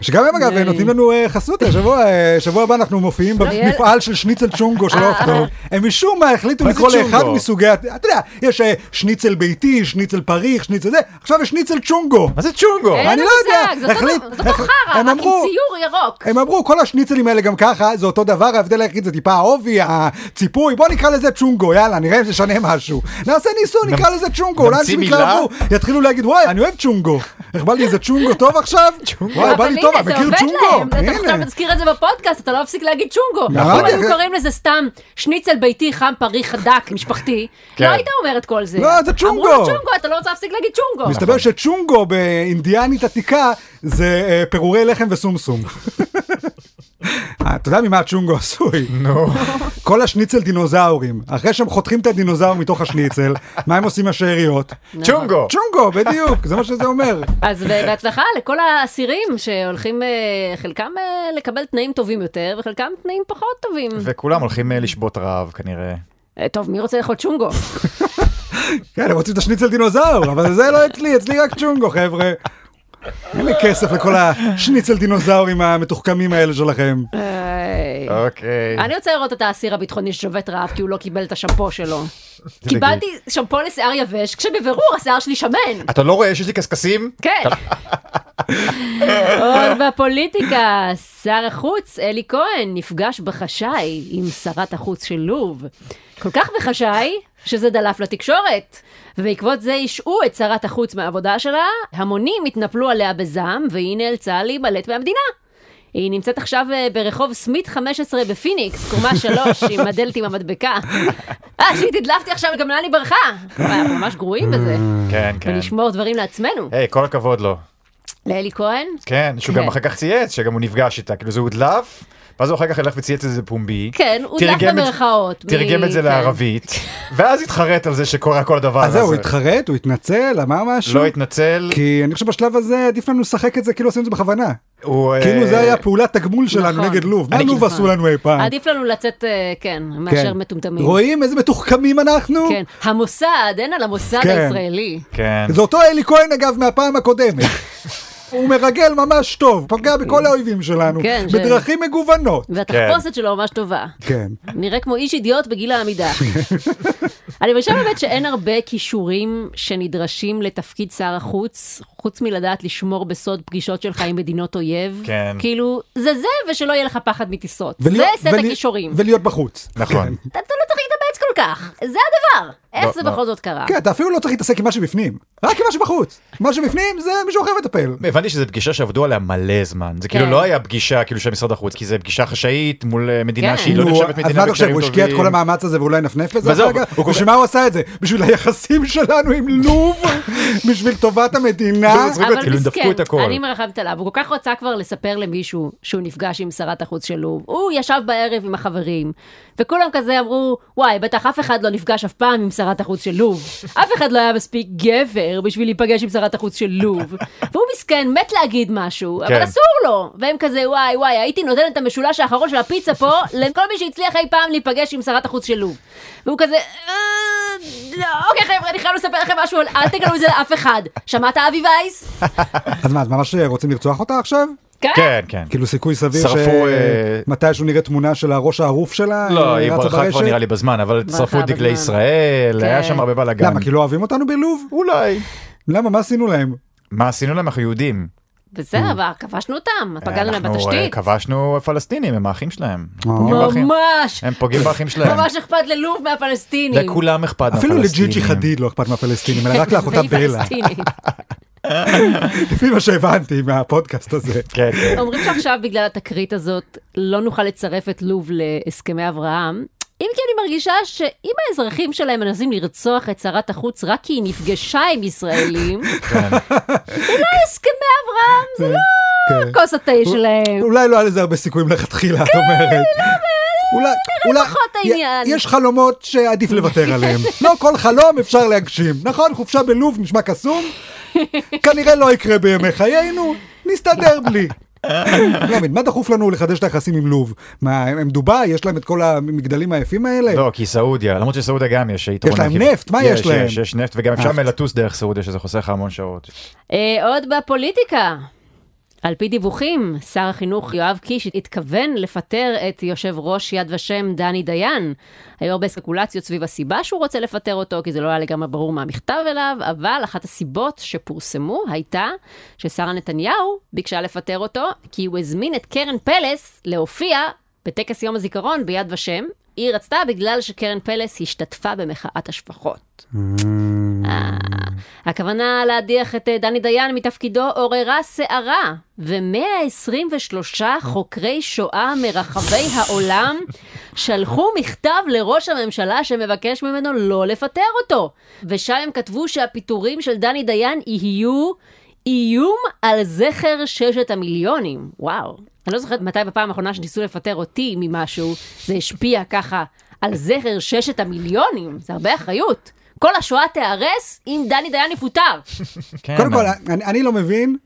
שגם הם אגב
די.
נותנים לנו אה, חסות, השבוע, אה, שבוע הבא אנחנו מופיעים במפעל של שניצל צ'ונגו של עוף טוב. הם משום מה החליטו
אה, מה זה
לקרוא לאחד
צ'ונגו?
מסוגי, הת- אתה יודע, יש אה, שניצל ביתי, שניצל פריך, שניצל זה, עכשיו יש שניצל צ'ונגו.
מה זה צ'ונגו?
אין
אני
לי
לא יודע,
מושג, זה אותו
החליט-
דבר, זה אותו
החל-
חרא,
הם
רק עם
אמרו-
ציור ירוק.
הם אמרו כל השניצלים האלה גם ככה זה אותו דבר ההבדל היחיד זה טיפה העובי הציפוי בוא נקרא לזה צ'ונגו יאללה נראה אם זה שונה משהו נעשה ניסוי נקרא לזה צ'ונגו אולי
נמציא
אנשים
מילה?
יתלהבו יתחילו להגיד וואי אני אוהב צ'ונגו איך בא לי איזה צ'ונגו טוב עכשיו וואי בא
אבל
לי
הנה,
טוב אני
זה
מכיר
עובד להם,
צ'ונגו
אתה עכשיו
הנה.
מזכיר את זה בפודקאסט, אתה לא מפסיק להגיד צ'ונגו.
נכון.
אם היו קוראים לזה סתם שניצל ביתי חם פרי חדק משפחתי,
כן.
לא היית אומר את כל זה.
לא, זה צ'ונגו.
אמרו לו צ'ונגו, אתה לא רוצה להפסיק להגיד צ'ונגו.
מסתבר שצ'ונגו באינדיאנית עתיקה זה אה, פירורי לחם וסומסום. אה, אתה יודע ממה הצ'ונגו עשוי?
נו,
כל השניצל דינוזאורים. אחרי שהם חותכים את הדינוזאור מתוך השניצל, מה הם עושים עם השאריות?
נכון.
צ'ונגו.
צ'ונגו, בדיוק, זה מה שזה אומר.
אז ב- בהצלחה לכל האסירים שהולכים, אה, חלקם אה, לקבל תנאים טובים יותר וחלקם תנאים פחות טובים.
וכולם הולכים אה, לשבות רעב כנראה.
אה, טוב, מי רוצה לאכול צ'ונגו?
כן, הם רוצים את השניצל דינוזאור, אבל זה לא אצלי, אצלי רק צ'ונגו, חבר'ה. אין לי כסף לכל השניצל דינוזאורים המתוחכמים האלה שלכם.
איי.
אוקיי.
אה, אני רוצה לראות את האסיר הביטחוני ששובת רעב כי הוא לא קיבל את השמפו שלו. קיבלתי שמפו לשיער יבש, כשבבירור השיער שלי שמן.
אתה לא רואה שיש לי קשקשים?
כן. עוד בפוליטיקה, שר החוץ אלי כהן נפגש בחשאי עם שרת החוץ של לוב. כל כך בחשאי, שזה דלף לתקשורת. ובעקבות זה השעו את שרת החוץ מהעבודה שלה, המונים התנפלו עליה בזעם, והיא נאלצה להימלט מהמדינה. היא נמצאת עכשיו אה, ברחוב סמית 15 בפיניקס, קומה 3, עם הדלת עם המדבקה. אה, שהיא תדלפתי עכשיו, גם לאן היא ברחה? וואי, אנחנו ממש גרועים בזה.
כן, כן.
ונשמור דברים לעצמנו.
היי, כל הכבוד לו.
לאלי כהן?
כן, שהוא
כן.
גם אחר כך צייץ, שגם הוא נפגש איתה, כאילו זה הודלף, ואז הוא אחר כך הלך וצייץ את זה בפומבי.
כן, הודלף
תרגם את-
במרכאות, מ-
תרגם את זה
כן.
לערבית, ואז התחרט על זה שקורה כל הדבר
אז
הזה.
זהו, הוא התחרט, הוא התנצל, אמר משהו.
לא התנצל,
כי אני חושב שבשלב הזה עדיף לנו לשחק את זה כאילו עשינו את זה בכוונה.
הוא... אה,
כאילו זה היה פעולת תגמול שלנו
נכון.
נגד לוב. מה
אני
לוב
כאילו-
עשו לנו אי פעם?
עדיף לנו לצאת, אה, כן, מאשר
כן.
מטומטמים.
רואים איזה מתוחכמים אנחנו?
כן, המוסד, אין על המוסד
כן.
הישראלי.
כן.
זה אותו אלי כהן אגב מהפעם הקודמת. הוא מרגל ממש טוב, פגע בכל האויבים שלנו,
כן, ש-
בדרכים מגוונות.
והתחפושת שלו ממש טובה.
כן.
נראה כמו איש אידיוט בגיל העמידה. אני חושבת באמת שאין הרבה כישורים שנדרשים לתפקיד שר החוץ, חוץ מלדעת לשמור בסוד פגישות שלך עם מדינות אויב.
כן.
כאילו, זה זה ושלא יהיה לך פחד מטיסות. זה
ולהיות-
סט
ולי-
הכישורים.
ולהיות בחוץ.
נכון.
אתה אתה לא צריך להתאמץ כל כך, זה הדבר. איך
לא,
זה
לא.
בכל זאת קרה?
כן, אתה אפילו לא צריך להתעסק עם מה שבפנים, רק עם מה שבחוץ. מה שבפנים זה מישהו אחר מטפל.
הבנתי שזו פגישה שעבדו עליה מלא זמן, זה
כן.
כאילו לא היה פגישה כאילו של משרד החוץ, כי זו פגישה חשאית מול אה, מדינה
כן.
שהיא לא
נו,
נחשבת
אז
מדינה
מה אתה חושב,
בקשרים
הוא השקיע את כל
טובים.
המאמץ הזה ואולי נפנף בזה
וזהו,
אחר כך?
הוא-
בשביל מה הוא עשה את זה? בשביל היחסים שלנו עם לוב? בשביל טובת המדינה?
הוא צודק, כאילו, הם דפקו את הכל.
אני מרחמת עליו, הוא כל כך רצה כבר לספר למישהו שהוא נפגש עם שרת החוץ של לוב. הוא ישב בערב עם החברים, וכולם כזה אמרו, וואי, בטח אף אחד לא נפגש אף פעם עם שרת החוץ של לוב. אף אחד לא היה מספיק גבר בשביל להיפגש עם שרת החוץ של לוב. והוא מסכן, מת להגיד משהו, אבל
כן.
אסור לו. והם כזה, וואי, וואי, הייתי נותן את המשולש האחרון של הפיצה פה לכל מי שהצליח אי פעם להיפגש עם שרת החוץ של לוב. והוא כזה, "אה, לא, אוקיי חבר'ה, אני חייב לספר לכם משהו, אבל אל תגלו את זה לאף אחד. שמעת אבי וייס?
אז מה, אז ממש אה, רוצים לרצוח אותה עכשיו?
כן.
כן, כן.
כאילו סיכוי סביר
שרפו, אה,
שמתישהו נראה תמונה של הראש הערוף שלה?
לא,
אה,
היא
רצה
ברחה כבר
ברשת?
נראה לי בזמן, אבל
ברחה
שרפו את דגלי
בזמן. כן.
ישראל, היה שם הרבה בלאגן.
למה, כי לא אוהבים אותנו בלוב?
אולי.
למה, מה עשינו להם?
מה עשינו להם? אנחנו יהודים.
בסדר, אבל כבשנו אותם, פגענו להם
Mm. אנחנו, אה,
בתשתית.
כבשנו פלסטינים, הם האחים שלהם. הם
אה.
פוגעים באחים.
ממש,
הם פוגעים באחים שלהם.
ממש אכפת ללוב מהפלסטינים.
לכולם אכפת
אפילו
מהפלסטינים.
לג'יג'י חדיד לא אכפת מהפלסטינים, אלא רק לאחותה
והיא
ברלה,
פלסטינית.
לפי מה שהבנתי מהפודקאסט הזה.
כן, כן.
אומרים שעכשיו בגלל התקרית הזאת לא נוכל לצרף את לוב להסכמי אברהם. אם כי אני מרגישה שאם האזרחים שלהם מנסים לרצוח את שרת החוץ רק כי היא נפגשה עם ישראלים,
כן.
אולי הסכמי אברהם זה
כן.
לא כוס התה שלהם.
אולי לא היה לזה הרבה סיכויים לכתחילה, את
כן,
אומרת. אולי, אולי,
לא פחות
י-
העניין.
יש חלומות שעדיף לוותר עליהם. לא כל חלום אפשר להגשים. נכון, חופשה בלוב נשמע קסום, כנראה לא יקרה בימי חיינו, נסתדר בלי. לא מבין, מה דחוף לנו לחדש את היחסים עם לוב? מה, הם הם דובאי? יש להם את כל המגדלים היפים האלה?
לא, כי סעודיה, למרות שסעודיה גם יש יתרון.
אה. יש להם
עקיף.
נפט, מה יש להם?
יש, יש נפט, וגם אפשר
נפט.
לטוס דרך סעודיה, שזה חוסך המון שעות.
אה, עוד בפוליטיקה. על פי דיווחים, שר החינוך יואב קיש התכוון לפטר את יושב ראש יד ושם דני דיין. היו הרבה ספקולציות סביב הסיבה שהוא רוצה לפטר אותו, כי זה לא היה לגמרי ברור מהמכתב אליו, אבל אחת הסיבות שפורסמו הייתה ששרה נתניהו ביקשה לפטר אותו, כי הוא הזמין את קרן פלס להופיע בטקס יום הזיכרון ביד ושם. היא רצתה בגלל שקרן פלס השתתפה במחאת השפחות. הכוונה להדיח את אה, דני דיין מתפקידו עוררה סערה, ו-123 חוקרי שואה מרחבי העולם שלחו מכתב לראש הממשלה שמבקש ממנו לא לפטר אותו. ושם הם כתבו שהפיטורים של דני דיין יהיו איום על זכר ששת המיליונים. וואו. אני לא זוכרת מתי בפעם האחרונה שניסו לפטר אותי ממשהו, זה השפיע ככה על זכר ששת המיליונים. זה הרבה אחריות. כל השואה תיהרס אם דני דיין יפוטר.
כן,
קודם כל,
אה,
אני אני לא מבין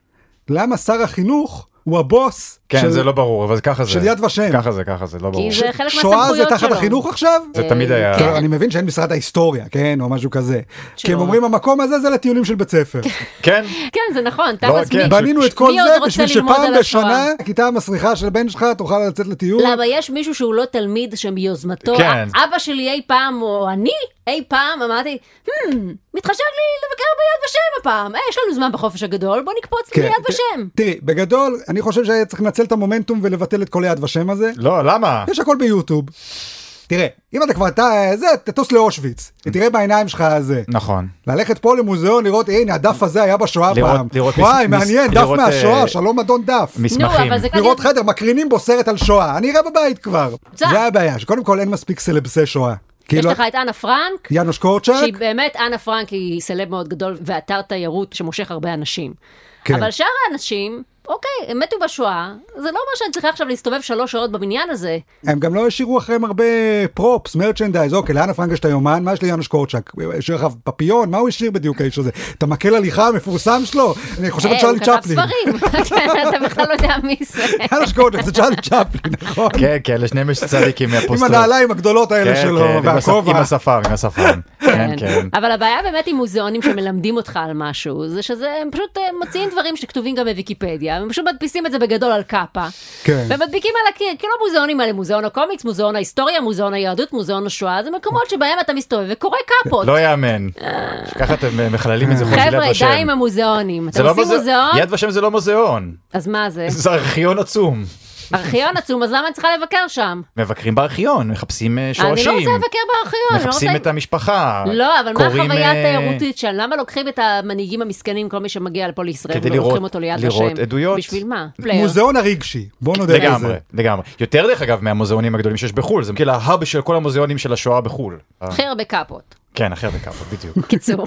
למה שר החינוך הוא הבוס
כן,
של-
זה לא ברור, אבל ככה זה.
של יד ושם.
ככה זה, ככה זה, לא ברור.
זה חלק
שואה זה
מהסמכויות
תחת
שלו.
החינוך עכשיו?
זה תמיד היה...
כן, אני מבין שאין משרד ההיסטוריה, כן, או משהו כזה. כי הם
שלא.
אומרים, המקום הזה זה לטיולים של בית ספר.
כן,
כן, זה נכון,
לא,
תכלס,
כן.
מי-
בנינו את כל
מי עוד
זה
רוצה
בשביל
ללמוד
שפעם
על השואה?
בשנה הכיתה המסריחה של הבן שלך תוכל לצאת לטיול.
למה יש מישהו שהוא לא תלמיד שמיוזמתו,
כן.
אבא שלי אי פעם או אני אי פעם אמרתי, "Hmm, מתחשק לי לבקר ביד ושם הפעם, אה, יש לנו זמן בחופש הגדול, בוא נקפוץ
כן,
ביד
ת-
ושם.
תראי, בגדול, אני חושב שהיה צריך לנצל את המומנטום ולבטל את כל היד ושם הזה.
לא, למה?
יש הכל ביוטיוב. תראה, אם אתה כבר, אתה, זה, תטוס לאושוויץ, תראה בעיניים שלך זה.
נכון.
ללכת פה למוזיאון לראות הנה הדף הזה היה בשואה
לראות-
פעם.
לראות
וואי
מס-
מעניין
מס-
דף
לראות,
מהשואה
אה,
שלום אדון דף.
מסמכים.
אבל זה כנראה-
לראות חדר מקרינים בו סרט על שואה אני אראה בבית כבר.
צע.
זה הבעיה שקודם כל אין מספיק סלבסי שואה.
יש
לא-
כאילו
לך את אנה פרנק,
יאנוש קורצ'אק
שהיא באמת, אנה פרנק היא סלב מאוד גדול ואתר תיירות שמושך הרבה אנשים.
כן.
אבל שאר האנשים, אוקיי, הם מתו בשואה, זה לא אומר שאני צריכה עכשיו להסתובב שלוש שעות בבניין הזה.
הם גם לא השאירו אחריהם הרבה פרופס מרצ'נדייז אוקיי לאנה פרנק יש את היומן מה יש לי יאנוש קורצ'אק השאיר לך פפיון מה הוא השאיר בדיוק האיש הזה את המקל הליכה המפורסם שלו אני חושב
אה,
צ'רלי
הוא כתב
צ'פלין.
ספרים, כן, אתה בכלל לא יודע מי זה.
יאנוש קורצ'אק זה צ'רלי צ'פלין נכון.
כן, כן, לשניהם יש צדיקים
עם
מהפוסט-טראומה.
הנעליים הגדולות האלה
כן,
שלו
כן, עם הספ-
והכובע.
עם השפם, עם השפם. כן, כן.
אבל הבעיה באמת עם מוזיאונים שמלמדים אותך על משהו, זה שזה, הם פשוט אה, מוציאים דברים שכתובים גם בוויקיפדיה, הם פשוט מדפיסים את זה בגדול על קאפה.
כן.
ומדביקים על הקיר, כאילו המוזיאונים האלה, מוזיאון הקומיקס, מוזיאון ההיסטוריה, מוזיאון היהדות, מוזיאון השואה, זה מקומות שבהם אתה מסתובב וקורא קאפות.
לא יאמן. ככה אתם אה, מחללים את זה חוץ מיד
חבר'ה,
ושם.
די עם המוזיאונים.
זה
אתם
לא
עושים
מוזיאון.
מוזיאון,
יד ושם זה לא מוזיאון.
אז מה זה?
זה ארכיון עצום.
ארכיון עצום, אז למה אני צריכה לבקר שם?
מבקרים בארכיון, מחפשים אה,
אני
שורשים.
לא רוצה לבקר בארכיון, אני לא רוצה...
מחפשים את המשפחה.
לא, אבל מה
קוראים,
החוויה
אה,
התיירותית שם? למה לוקחים את המנהיגים המסכנים, כל מי שמגיע לפה לישראל,
כדי
ולוקחים
לראות-
אותו ליד ושם?
לראות עדויות.
בשביל מה?
מוזיאון הרגשי בוא נודה
לגמרי,
בזה.
לגמרי. יותר דרך אגב מהמוזיאונים הגדולים שיש בחו"ל, זה כאילו ההאב של כל המוזיאונים של השואה בחו"ל. אה,
הכי הרבה קאפות.
כן, אחרת ככה, בדיוק.
קיצור.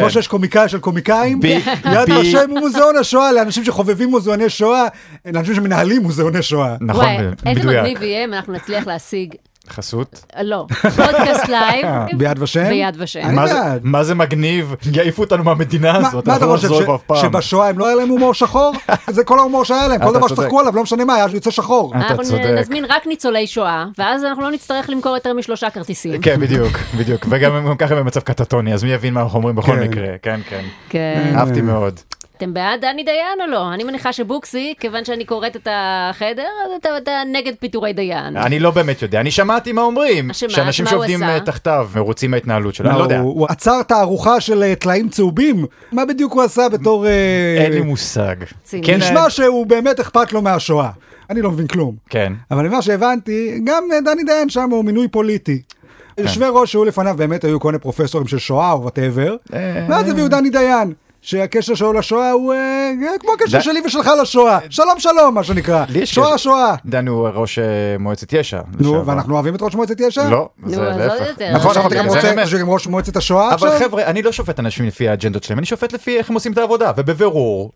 כמו שיש קומיקאי של קומיקאים,
ב-
יד
ב-
ושם הוא מוזיאון השואה לאנשים שחובבים מוזיאוני שואה, לאנשים שמנהלים מוזיאוני שואה.
נכון,
וואי, איזה
מדויק.
מגניב יהיה אם אנחנו נצליח להשיג,
חסות.
אה, לא, פודקאסט לייב.
ביד ושם?
ביד ושם.
אני
מה זה-
בעד.
מה זה מגניב? יעיפו אותנו מהמדינה
מה
הזאת,
מה אתה
אנחנו לא
חושב,
נחזור
ש-
לפה אף פעם.
שבשואה הם לא היה להם הומור שחור? זה כל ההומור שהיה להם, כל
אתה
דבר
צודק.
שצחקו עליו, לא משנה מה, היה יוצא שחור. אה?
אתה
אנחנו
צודק.
נזמין רק ניצולי שואה, ואז אנחנו לא נצטרך למכור יותר משלושה כרטיסים.
כן, בדיוק, בדיוק. וגם הם גם ככה במצב קטטוני, אז מי יבין מה אנחנו אומרים בכל
כן. אה.
מקרה. כן, כן.
כן.
אהבתי מאוד.
אתם בעד דני דיין או לא? אני מניחה שבוקסי, כיוון שאני קוראת את החדר, אז אתה- אתה נגד פיטורי דיין.
אני לא באמת יודע, אני שמעתי מה אומרים.
שמעת?
שאנשים
מה הוא
שעובדים
עשה?
אה, תחתיו מרוצים מההתנהלות שלו, אני לא יודע.
הוא הוא עצר תערוכה של אה, טלאים צהובים, מה בדיוק הוא עשה בתור... אה,
אין לי מושג.
ציני.
כן, אה,
נשמע שהוא באמת אכפת לו מהשואה. אני לא מבין כלום.
כן.
אבל ממה שהבנתי, גם אה, דני דיין שם הוא מינוי פוליטי.
כן.
יושבי ראש שהיו לפניו באמת היו כל מיני פרופסורים של שואה או וואטאבר,
אה.
ואז הביאו דני דיין, שהקשר שלו לשואה הוא אה, כמו הקשר
ד- אה,
שלי ושלך לשואה, שלום שלום מה שנקרא,
לי יש
שואה
קשר.
שואה.
דני הוא ראש אה, מועצת יש"ע.
נו,
לשעבר.
ואנחנו אוהבים את ראש מועצת יש"ע?
לא,
נו,
זה
אז עוד
להפך.
יותר.
נכון,
נכון, נכון,
אתה גם
בגלל זה
רוצה
אני אומר.
שגם ראש מועצת השואה עכשיו?
אבל חבר'ה, אני לא שופט אנשים לפי האג'נדות שלהם, אני שופט לפי איך הם עושים את העבודה, ובבירור,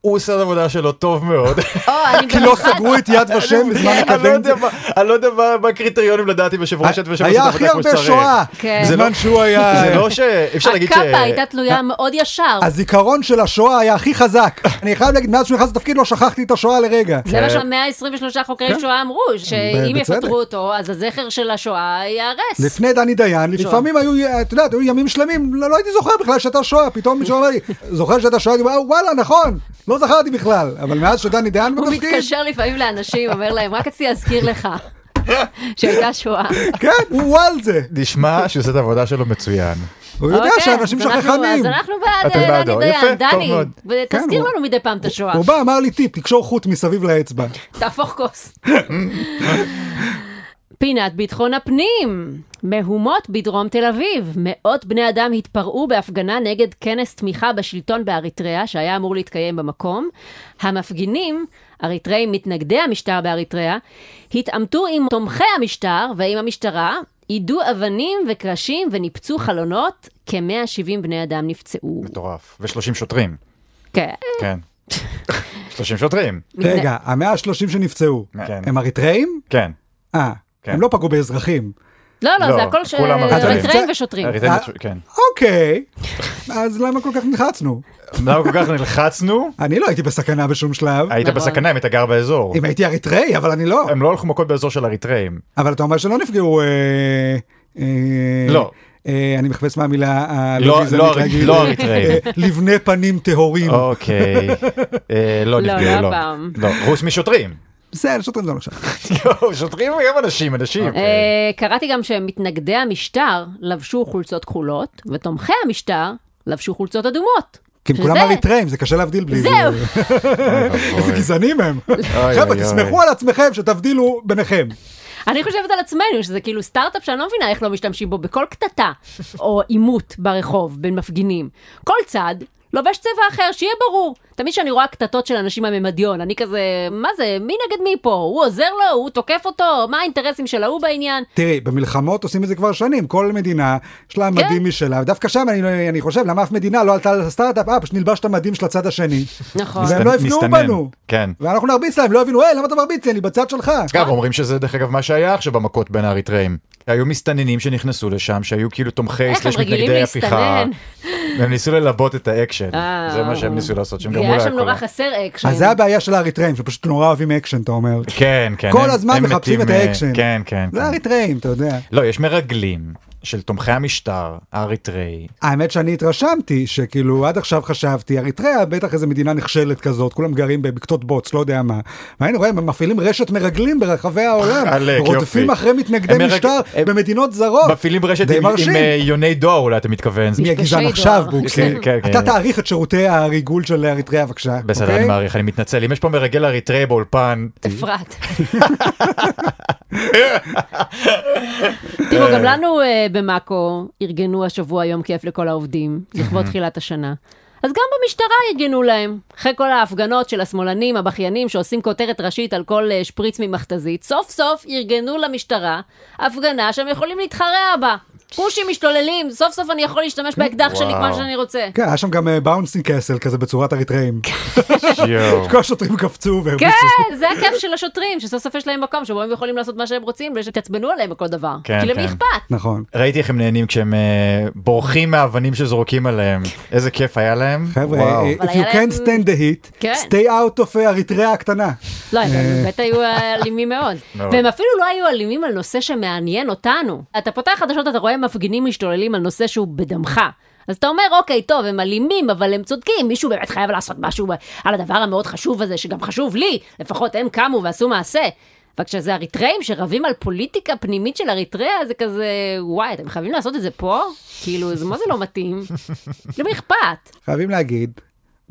הוא עושה את העבודה שלו טוב מאוד.
או, אני
כי לא סגרו את יד ושם בזמן
אני לא יודע
הקדנציה.
מה- אני לא יודע מה- מה הקריטריונים לדעת אם יושב ראש יד ושם
היה
עושה את
הכי
העבודה כמו
הרבה
שצריך.
שואה,
כן. זה לא-
בזמן שהוא היה...
זה לא ש... אפשר להגיד ש...
הקאפה הייתה תלויה מאוד ישר.
הזיכרון של השואה היה הכי חזק. אני חייב להגיד, מאז שהוא נכנס לתפקיד לא שכחתי את השואה לרגע.
זה מה שה-123
כן.
חוקרי שואה אמרו, שאם
בצדק.
יפטרו אותו, אז הזכר של השואה ייהרס.
לפני דני דיין,
שואה.
לפעמים היו, את יודעת, היו ימים שלמים, לא לא הייתי זוכר בכלל שהייתה שואה, פתאום מישהו אמר לי, זוכר שהייתה שואה, אני אומר, "אה, וואלה, נכון, לא זכרתי בכלל, אבל מאז שדני דיין
הוא
בתפקיד,
מתקשר לפעמים לאנשים, אומר להם, רק רציתי להזכיר לך שהייתה שואה.
כן, הוא על זה,
נשמע שהוא עושה את העבודה שלו מצוין.
הוא יודע
אוקיי,
שאנשים
אז אנחנו-
שכחנים.
אז אנחנו בעד
אתם
אה, דני
בעדו.
דיין.
יפה, טוב
דני,
מאוד.
תזכיר
כן, הוא-
לנו מדי פעם את השואה.
הוא בא, אמר לי טיפ, תקשור חוט מסביב לאצבע.
תהפוך כוס. פינת ביטחון הפנים, מהומות בדרום תל אביב. מאות בני אדם התפרעו בהפגנה נגד כנס תמיכה בשלטון באריתריאה שהיה אמור להתקיים במקום. המפגינים, אריתריאים מתנגדי המשטר באריתריאה, התעמתו עם תומכי המשטר ועם המשטרה, יידו אבנים וקרשים וניפצו חלונות. כ-170 בני אדם נפצעו.
מטורף. ו-30 שוטרים.
כן.
כן. 30 שוטרים.
רגע, המאה ה-30 שנפצעו,
כן.
הם אריתראים?
כן.
אה,
כן.
הם לא פגעו באזרחים.
לא, לא,
לא,
זה הכל ש-
כולם אריתריאים.
אריתריאים ושוטרים.
הריטלית-
אה?
כן.
אוקיי, אז למה כל כך נלחצנו?
למה כל כך נלחצנו?
אני לא הייתי בסכנה בשום שלב.
אוקיי, היית
נכון.
בסכנה אם אתה גר באזור.
אם הייתי אריתראי, אבל אני לא.
הם לא הלכו מכות באזור של אריתראים.
אבל אתה אומר שלא נפגעו... אה, אה,
לא.
אה, אני מחפש מהמילה
לא-
הלא
לא אריתראי,
להגיד,
לא אריתראי.
אה, לבני פנים טהורים.
אוקיי. אה, לא
לא,
נפגעו,
לא
לא.
הפעם.
לא, חוץ משוטרים.
זה, לשוטרים זה לא נחשב.
יואו, שוטרים הם אנשים, אנשים.
אה,
אוקיי.
קראתי גם שמתנגדי המשטר לבשו חולצות כחולות, ותומכי המשטר לבשו חולצות אדומות.
כי הם כולם
שזה-
אריתראים, זה קשה להבדיל בלי...
זהו.
אה, אוקיי.
איזה גזענים הם.
אוי,
חבר'ה,
אוי.
תסמכו על עצמכם שתבדילו ביניכם.
אני חושבת על עצמנו, שזה כאילו סטארט-אפ שאני לא מבינה איך לא משתמשים בו בכל קטטה או עימות ברחוב בין מפגינים. כל צד לובש צבע אחר, שיהיה ברור. תמיד כשאני רואה קטטות של אנשים מהממדיון, אני כזה, מה זה, מי נגד מי פה? הוא עוזר לו, הוא תוקף אותו, מה האינטרסים של ההוא בעניין?
תראי, במלחמות עושים את זה כבר שנים, כל מדינה יש
כן.
לה מדים משלה, ודווקא שם אני, לא- אני חושב, למה אף מדינה לא עלתה על הסטארט-אפ, אה, פשוט נלבש את המדים של הצד השני.
נכון.
והם לא יפגעו
מסתנן,
בנו.
כן.
ואנחנו נרביץ להם, לא יבינו, היי, למה אתה מרביץ לי? אני בצד שלך.
כן.
אגב, אומרים שזה דרך אגב מה שהיה עכשיו במכות בין האריתראים. היו מסתננים שנכנסו לשם, שהיו כאילו תומכי
איך הם
סלש
רגילים
מתנגדי הפיכה.
להסתנן?
הם ניסו ללבות את האקשן,
אה,
זה מה שהם ניסו לעשות, שהם
כי
גרמו
היה שם
להכל.
נורא חסר אקשן.
אז זה הבעיה של האריתראים, שפשוט נורא אוהבים אקשן, אתה אומר.
כן, כן.
כל
הם-
הזמן
הם
מחפשים
מתים,
את
אה,
האקשן.
כן, כן.
זה
כן.
האריתראים, אתה יודע.
לא, יש מרגלים של תומכי המשטר האריתראי.
האמת שאני התרשמתי שכאילו עד עכשיו חשבתי אריתריאה בטח איזה מדינה נכשלת כזאת כולם גרים בבקתות בוץ לא יודע מה. והיינו רואים הם מפעילים רשת מרגלים ברחבי העולם
עלק, יופי.
רודפים אחרי מתנגדי
הם מרג-
משטר
הם-
במדינות זרות.
מפעילים רשת
די
עם- עם
מרשים.
אה, יוני דואר אולי אתה מתכוון. זה-
מי הגזען
דואר.
עכשיו
כן,
בוקסי?
כן, כן.
אתה תעריך את שירותי הריגול של אריתריאה בבקשה.
בסדר,
אוקיי?
אני מעריך, אני מתנצל. אם יש פה מרגל אריתראי באולפן,
אפרת. תראו, גם לנו אה, במאקו ארגנו השבוע יום כיף לכל העובדים, לכבוד תחילת השנה. אז גם במשטרה ארגנו להם. אחרי כל ההפגנות של השמאלנים, הבכיינים, שעושים כותרת ראשית על כל אה, שפריץ ממכתזית, סוף סוף ארגנו למשטרה הפגנה שהם יכולים להתחרע בה. כושים משתוללים, סוף סוף אני יכול להשתמש באקדח שלי
וואו.
כמו שאני רוצה.
כן, היה שם גם באונסינג קסל כזה בצורת אריתריאים.
יואו.
כל השוטרים קפצו והרביצו.
כן, זה הכיף של השוטרים, שסוף סוף יש להם מקום שבו הם יכולים לעשות מה שהם רוצים ושתעצבנו עליהם בכל דבר.
כן,
כי למי
כן.
אכפת?
נכון.
ראיתי איך הם נהנים כשהם אה, בורחים מהאבנים שזורקים עליהם. איזה כיף היה להם.
חבר'ה, אה,
וואו.
if
אבל
you
היה להם-
can stand the heat,
כן.
stay out of אה, אריתריאה הקטנה.
לא, הם
אה.
באמת היו אלימים מאוד.
מאוד.
והם אפילו לא היו אלימים על נושא שמעניין אותנו. אתה פותח חדשות, אתה רואה מפגינים משתוללים על נושא שהוא בדמך. אז אתה אומר, אוקיי, טוב, הם אלימים, אבל הם צודקים, מישהו באמת חייב לעשות משהו על הדבר המאוד חשוב הזה, שגם חשוב לי, לפחות הם קמו ועשו מעשה. אבל כשזה אריתראים שרבים על פוליטיקה פנימית של אריתריאה, זה כזה, וואי, אתם חייבים לעשות את זה פה? כאילו, זה מה זה לא מתאים? למי אכפת?
חייבים להגיד,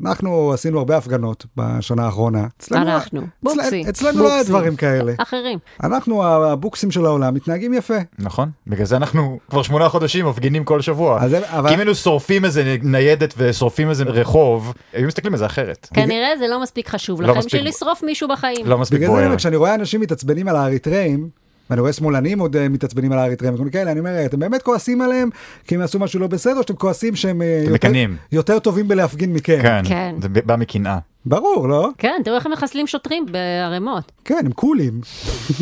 אנחנו עשינו הרבה הפגנות בשנה האחרונה. אצלנו- לא-
אנחנו,
אצל-
בוקסים,
אצלנו לא היה
בוקסים.
דברים כאלה.
אחרים.
אנחנו הבוקסים של העולם מתנהגים יפה.
נכון, בגלל זה אנחנו כבר שמונה חודשים מפגינים כל שבוע.
אז זה- אבל-
כי אם היינו שורפים איזה ניידת ושורפים איזה רחוב, היו מסתכלים על זה אחרת.
כנראה זה לא מספיק חשוב
לא
לכם
מספיק-
בשביל לשרוף מישהו בחיים.
לא מספיק
בגלל זה אני
בוער.
אומר, כשאני רואה אנשים מתעצבנים על האריתראים, ואני רואה שמאלנים עוד אה, מתעצבנים על האריתראים, וכל מיני כאלה, אני אומר, אה, אתם באמת כועסים עליהם כי הם עשו משהו לא בסדר, או שאתם כועסים שהם אה, יותר-
מקנאים.
יותר טובים בלהפגין מכם?
כן,
כן.
זה בא מקנאה.
ברור, לא?
כן, תראו איך הם מחסלים שוטרים בערימות.
כן, הם קולים.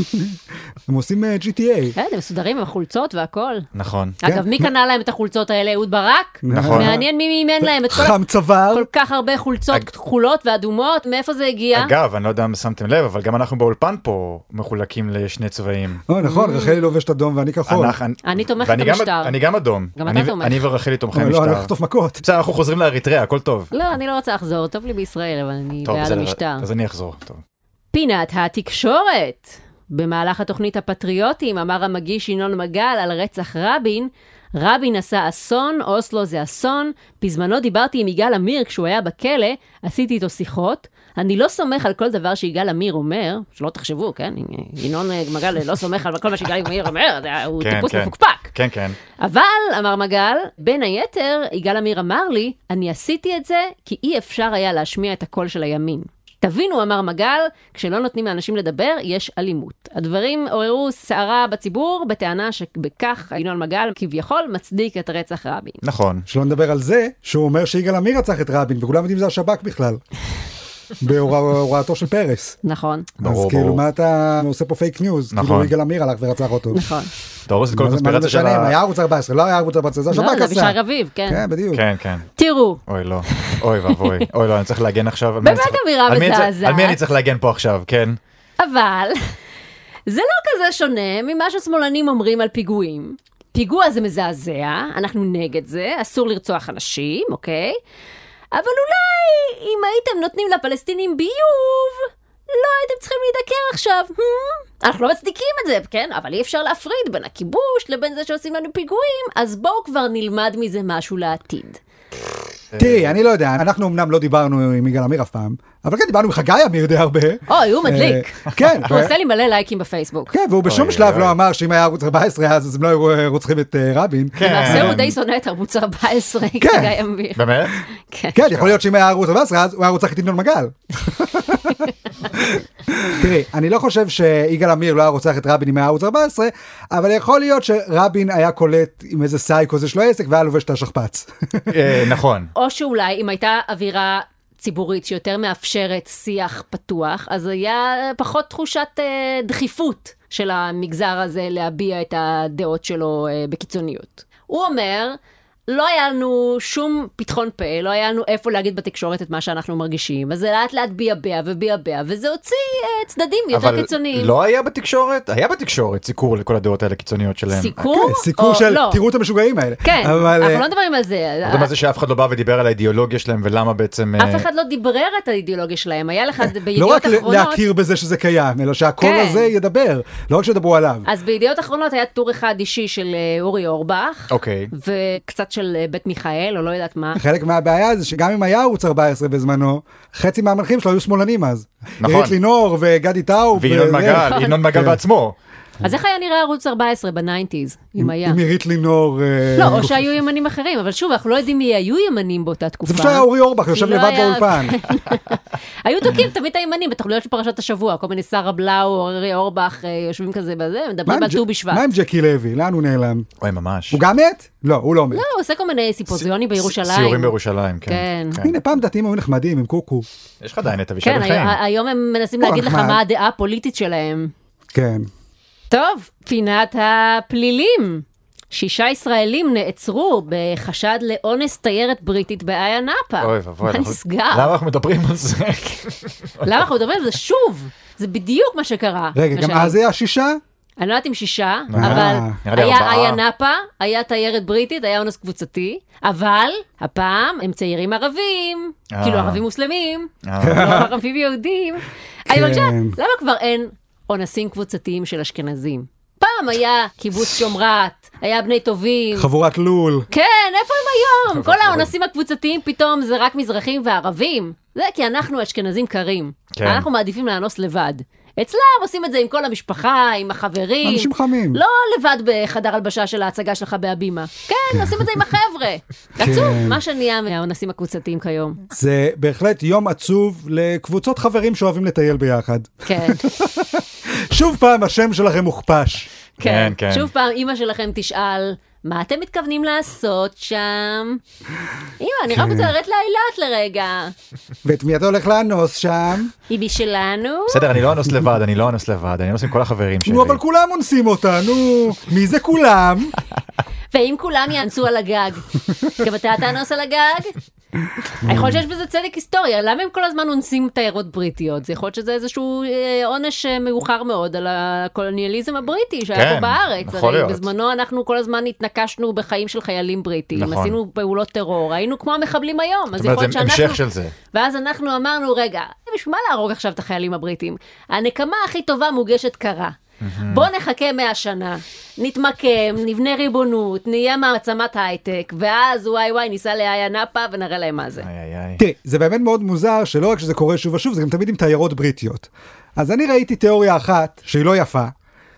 הם עושים אה, GTA.
כן, הם מסודרים עם החולצות והכל.
נכון.
אגב, מי קנה להם את החולצות האלה? אהוד ברק?
נכון.
מעניין מי מימן להם את כל ה-
חם צוואר.
כל כך הרבה חולצות
אג-
כחולות ואדומות, מאיפה זה הגיע?
אגב, אני לא יודע אם שמתם לב, אבל גם אנחנו באולפן פה מחולקים לשני צבעים.
אה,
Mm.
נכון, רחלי לובשת אדום ואני כחול.
אנחנו-
אני תומכת
ואני גם-
במשטר.
אני גם אדום.
גם אתה
אני ו-
תומך.
אני ורחלי תומכי
לא, אנחנו
משטר.
נחטוף מכות.
בסדר, אנחנו חוזרים לאריתריאה, הכל טוב.
לא, אני לא רוצה לחזור, טוב לי בישראל, אבל אני
טוב,
בעד
בסדר,
המשטר.
אז אני אחזור. טוב.
פינת התקשורת. במהלך התוכנית הפטריוטים אמר המגיש ינון מגל על רצח רבין, רבין עשה אסון, אוסלו זה אסון. בזמנו דיברתי עם יגאל עמיר כשהוא היה בכלא, עשיתי איתו שיחות. אני לא סומך על כל דבר שיגאל עמיר אומר, שלא תחשבו, כן? ינון אה, מגל לא סומך על כל מה שיגאל עמיר אומר, זה- הוא
כן,
טיפוס
כן.
מפוקפק.
כן, כן.
אבל, אמר מגל, בין היתר, יגאל עמיר אמר לי, אני עשיתי את זה כי אי אפשר היה להשמיע את הקול של הימין. תבינו, אמר מגל, כשלא נותנים לאנשים לדבר, יש אלימות. הדברים עוררו סערה בציבור, בטענה שבכך ינון מגל כביכול מצדיק את רצח רבין.
נכון.
שלא נדבר על זה שהוא אומר שיגאל עמיר רצח את רבין וכולם יודעים שזה השב"כ בכלל. בהוראתו של פרס.
נכון,
ברור,
אז כאילו
ברור.
מה אתה עושה פה פייק ניוז?
נכון.
כאילו יגאל עמיר הלך ורצח אותו.
נכון.
אתה הורס את כל
מה זה- מה זה
הקונספירציה של
משנה אם
ה...
היה ערוץ 14, לא היה ערוץ 14, זה
לא,
השב"כ עשה.
זה אבישי רביב, כן.
כן, בדיוק.
כן, כן.
תראו,
אוי לא, אוי ואבוי, אוי לא, אני צריך להגן עכשיו. על מי אני
באמת
צריך-
אמירה
על מי אני צריך-
מזעזעת.
על מי אני צריך להגן פה עכשיו, כן?
אבל זה לא כזה שונה ממה ששמאלנים אומרים על פיגועים. פיגוע זה מזעזע, אנחנו נגד זה, אסור לרצוח אנשים, אוקיי? אבל אולי אם הייתם נותנים לפלסטינים ביוב, לא הייתם צריכים להידקר עכשיו. Hmm? אנחנו לא מצדיקים את זה, כן? אבל אי אפשר להפריד בין הכיבוש לבין זה שעושים לנו פיגועים, אז בואו כבר נלמד מזה משהו לעתיד.
תראי, אני לא יודע, אנחנו אמנם לא דיברנו עם יגאל עמיר אף פעם, אבל כן דיברנו עם חגי עמיר די הרבה.
אוי, הוא מדליק.
אה, כן.
הוא
ו-
עושה לי מלא לייקים בפייסבוק.
כן, והוא בשום
אוי,
שלב
אוי.
לא אמר שאם היה ערוץ 14 אז אז הם לא היו אה, רוצחים את אה, רבין.
כן.
למעשה הוא די שונא את ערוץ 14, חגי עמיר.
באמת?
כן.
כן, יכול להיות שאם היה ערוץ 14 אז הוא היה רוצח את ינון מגל. תראי, אני לא חושב שיגאל עמיר לא היה רוצח את רבין אם היה ערוץ 14, אבל יכול להיות שרבין היה קולט עם איזה סייקו זה שלו עסק והיה לובש את השכפ"ץ.
אה, נכון.
או שאולי אם הייתה אווירה ציבורית שיותר מאפשרת שיח פתוח, אז היה פחות תחושת אה, דחיפות של המגזר הזה להביע את הדעות שלו אה, בקיצוניות. הוא אומר, לא היה לנו שום פתחון פה, לא היה לנו איפה להגיד בתקשורת את מה שאנחנו מרגישים, אז זה לאט לאט ביעבע וביעבע, וזה הוציא אה, צדדים יותר
אבל
קיצוניים.
לא היה בתקשורת? היה בתקשורת סיקור לכל הדעות האלה הקיצוניות שלהם.
סיקור?
סיקור
או-
כן, של
לא.
תראו את המשוגעים האלה.
כן,
אבל,
אנחנו
אה,
לא מדברים על זה.
אתה יודע מה זה שאף אחד לא בא ודיבר על האידיאולוגיה שלהם ולמה בעצם... אה,
אף אחד לא דיברר את האידיאולוגיה שלהם, היה לך את זה
לא
בידיעות
רק ל-
אחרונות.
להכיר בזה שזה קיים, אלא שהקול
כן.
הזה ידבר, לא רק שידברו עליו.
אז בידיעות אחרונות היה טור אחד אישי של אה, אורי אורבך.
אוקיי.
וקצת של אה, בית מיכאל, או לא יודעת מה.
חלק מהבעיה זה שגם אם היה ערוץ 14 בזמנו, חצי מהמנחים שלו היו שמאלנים אז.
נכון.
עירית לינור וגדי טאו.
וינון מגל, ינון
כן.
מגל בעצמו.
אז איך היה נראה ערוץ 14 בניינטיז, אם היה?
עם עירית לינור. אה,
לא, או שהיו ימנים אחרים, אבל שוב, אנחנו לא יודעים מי היו ימנים באותה תקופה.
זה פשוט היה אורי אורבך יושב
לא
לבד
היה-
באולפן.
היו תוקעים תמיד את הימנים בתוכניות של פרשת השבוע, כל מיני שרה בלאו, אורי אורבך, אה, יושבים כזה בזה,
מה עם
מדברים על
ג'-
לא, ט"ו בשבט.
מה עם ג'קי לוי? לאן הוא נעלם?
אוי, ממש.
הוא גם מת? לא, הוא לא מת.
לא, הוא עושה כל מיני סימפוזיונים בירושלים.
סיורים בירושלים, כן.
כן.
הנה, פעם דתיים היו נחמדים עם קוקו.
יש לך עדיין את אבישי
כן,
בן חיים.
היום- היום הם מנסים
הוא
להגיד לך
נחמד.
מה הדעה הפוליטית שלהם.
כן.
טוב, פינת הפלילים. שישה ישראלים נעצרו בחשד לאונס תיירת בריטית באיה נאפה.
אוי ואבוי.
אה, מה
אנחנו-
נסגר?
למה אנחנו מדברים על זה?
למה אנחנו מדברים על זה שוב? זה בדיוק מה שקרה.
רגע,
מה
גם
שהיה.
אז היה שישה?
אני לא יודעת אם שישה,
אה.
אבל
נראה לי
היה
ארבעה.
איה נאפה, היה תיירת בריטית, היה אונס קבוצתי, אבל הפעם הם צעירים ערבים,
אה.
כאילו ערבים מוסלמים,
אה.
לא ערבים יהודים. אני
כן.
מרגישה, למה כבר אין אונסים קבוצתיים של אשכנזים? פעם היה קיבוץ שומרת, היה בני טובים.
חבורת לול.
כן, איפה הם היום? כל האונסים הקבוצתיים פתאום זה רק מזרחים וערבים. זה כי אנחנו אשכנזים קרים.
כן.
אנחנו מעדיפים לאנוס לבד. אצלם עושים את זה עם כל המשפחה, עם החברים.
אנשים חמים.
לא לבד בחדר הלבשה של ההצגה שלך בהבימה. כן, עושים את זה עם החבר'ה.
כן.
עצוב, מה שנהיה מהאונסים הקבוצתיים כיום.
זה בהחלט יום עצוב לקבוצות חברים שאוהבים לטייל ביחד.
כן.
שוב פעם השם שלכם מוכפש.
כן,
כן,
כן.
כן.
שוב פעם, אימא שלכם תשאל, מה אתם מתכוונים לעשות שם? אימא, אני
כן.
רק רוצה לרדת לאילת לרגע.
ואת מי אתה הולך לאנוס שם?
היא בשלנו?
בסדר, אני לא אנוס לבד, אני לא אנוס לבד, אני אנוס עם כל החברים שלי.
נו, אבל כולם אונסים אותה, נו. מי זה כולם?
ואם כולם יאנסו על הגג, גם אתה תאנוס על הגג? יכול להיות שיש בזה צדק היסטורי, למה הם כל הזמן אונסים תיירות בריטיות? זה יכול להיות שזה איזשהו אה, עונש אה, מאוחר מאוד על הקולוניאליזם הבריטי שהיה
כן,
פה בארץ.
יכול
הרי
להיות.
בזמנו אנחנו כל הזמן התנקשנו בחיים של חיילים בריטים,
נכון.
עשינו פעולות טרור, היינו כמו המחבלים היום, אז
זאת
יכול להיות
אומרת, זה
שאנחנו...
המשך של זה.
ואז אנחנו אמרנו, רגע, בשביל מה להרוג עכשיו את החיילים הבריטים? הנקמה הכי טובה מוגשת קרה. בוא נחכה 100 שנה, נתמקם, נבנה ריבונות, נהיה מעצמת הייטק, ואז וואי וואי ניסע לאיה נאפה ונראה להם מה זה.
איי איי איי.
תראי, זה באמת מאוד מוזר שלא רק שזה קורה שוב ושוב, זה גם תמיד עם תיירות בריטיות. אז אני ראיתי תיאוריה אחת, שהיא לא יפה,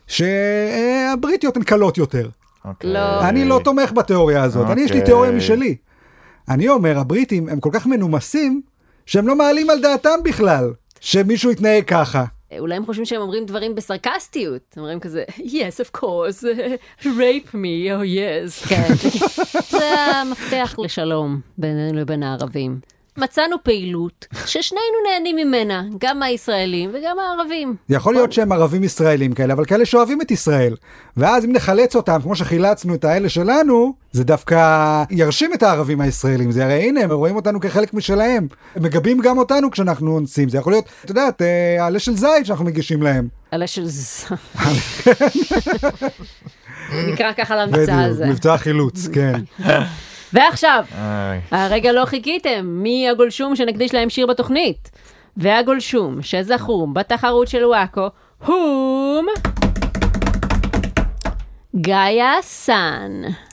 שהבריטיות הן קלות יותר.
אוקיי.
לא.
אני לא תומך בתיאוריה הזאת, אני יש לי
אוקיי.
תיאוריה משלי. אני אומר, הבריטים הם כל כך מנומסים, שהם לא מעלים על דעתם בכלל, שמישהו יתנהג ככה.
אולי הם חושבים שהם אומרים דברים בסרקסטיות. הם אומרים כזה, yes, of course, rape me, oh yes. כן. זה המפתח לשלום בינינו לבין הערבים. מצאנו פעילות ששנינו נהנים ממנה, גם הישראלים וגם הערבים.
יכול להיות שהם ערבים ישראלים כאלה, אבל כאלה שאוהבים את ישראל. ואז אם נחלץ אותם, כמו שחילצנו את האלה שלנו, זה דווקא ירשים את הערבים הישראלים. זה הרי הנה, הם רואים אותנו כחלק משלהם. הם מגבים גם אותנו כשאנחנו אונסים. זה יכול להיות, את יודעת, אה, העלה של זית שאנחנו מגישים להם.
עלה של ז... נקרא ככה למבצע הזה.
בדיוק, מבצע החילוץ, כן.
ועכשיו,
איי.
הרגע לא חיכיתם, מי הגולשום שנקדיש להם שיר בתוכנית? והגולשום שזכו בתחרות של וואקו הום גאיה סאן.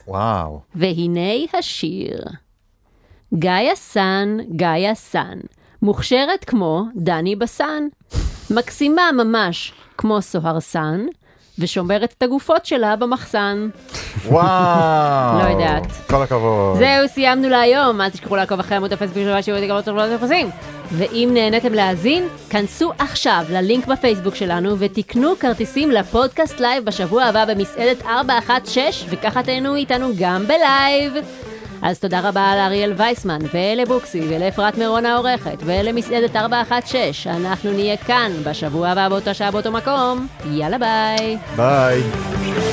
וואו.
והנה השיר. גאיה סאן, גאיה סאן, מוכשרת כמו דני בסן, מקסימה ממש כמו סוהרסן, ושומרת את הגופות שלה במחסן.
וואו.
לא יודעת.
כל הכבוד.
זהו, סיימנו להיום. אל תשכחו לעקוב אחרי עמוד הפייסבוק של שיעורי תגלות תגלות הפרסים. ואם נהניתם להאזין, כנסו עכשיו ללינק בפייסבוק שלנו ותקנו כרטיסים לפודקאסט לייב בשבוע הבא במסעדת 416, וככה תהנו איתנו גם בלייב. אז תודה רבה לאריאל וייסמן, ולבוקסי, ולאפרת מירון העורכת, ולמסעדת 416. אנחנו נהיה כאן בשבוע הבא באותה שעה באותו מקום. יאללה ביי.
ביי.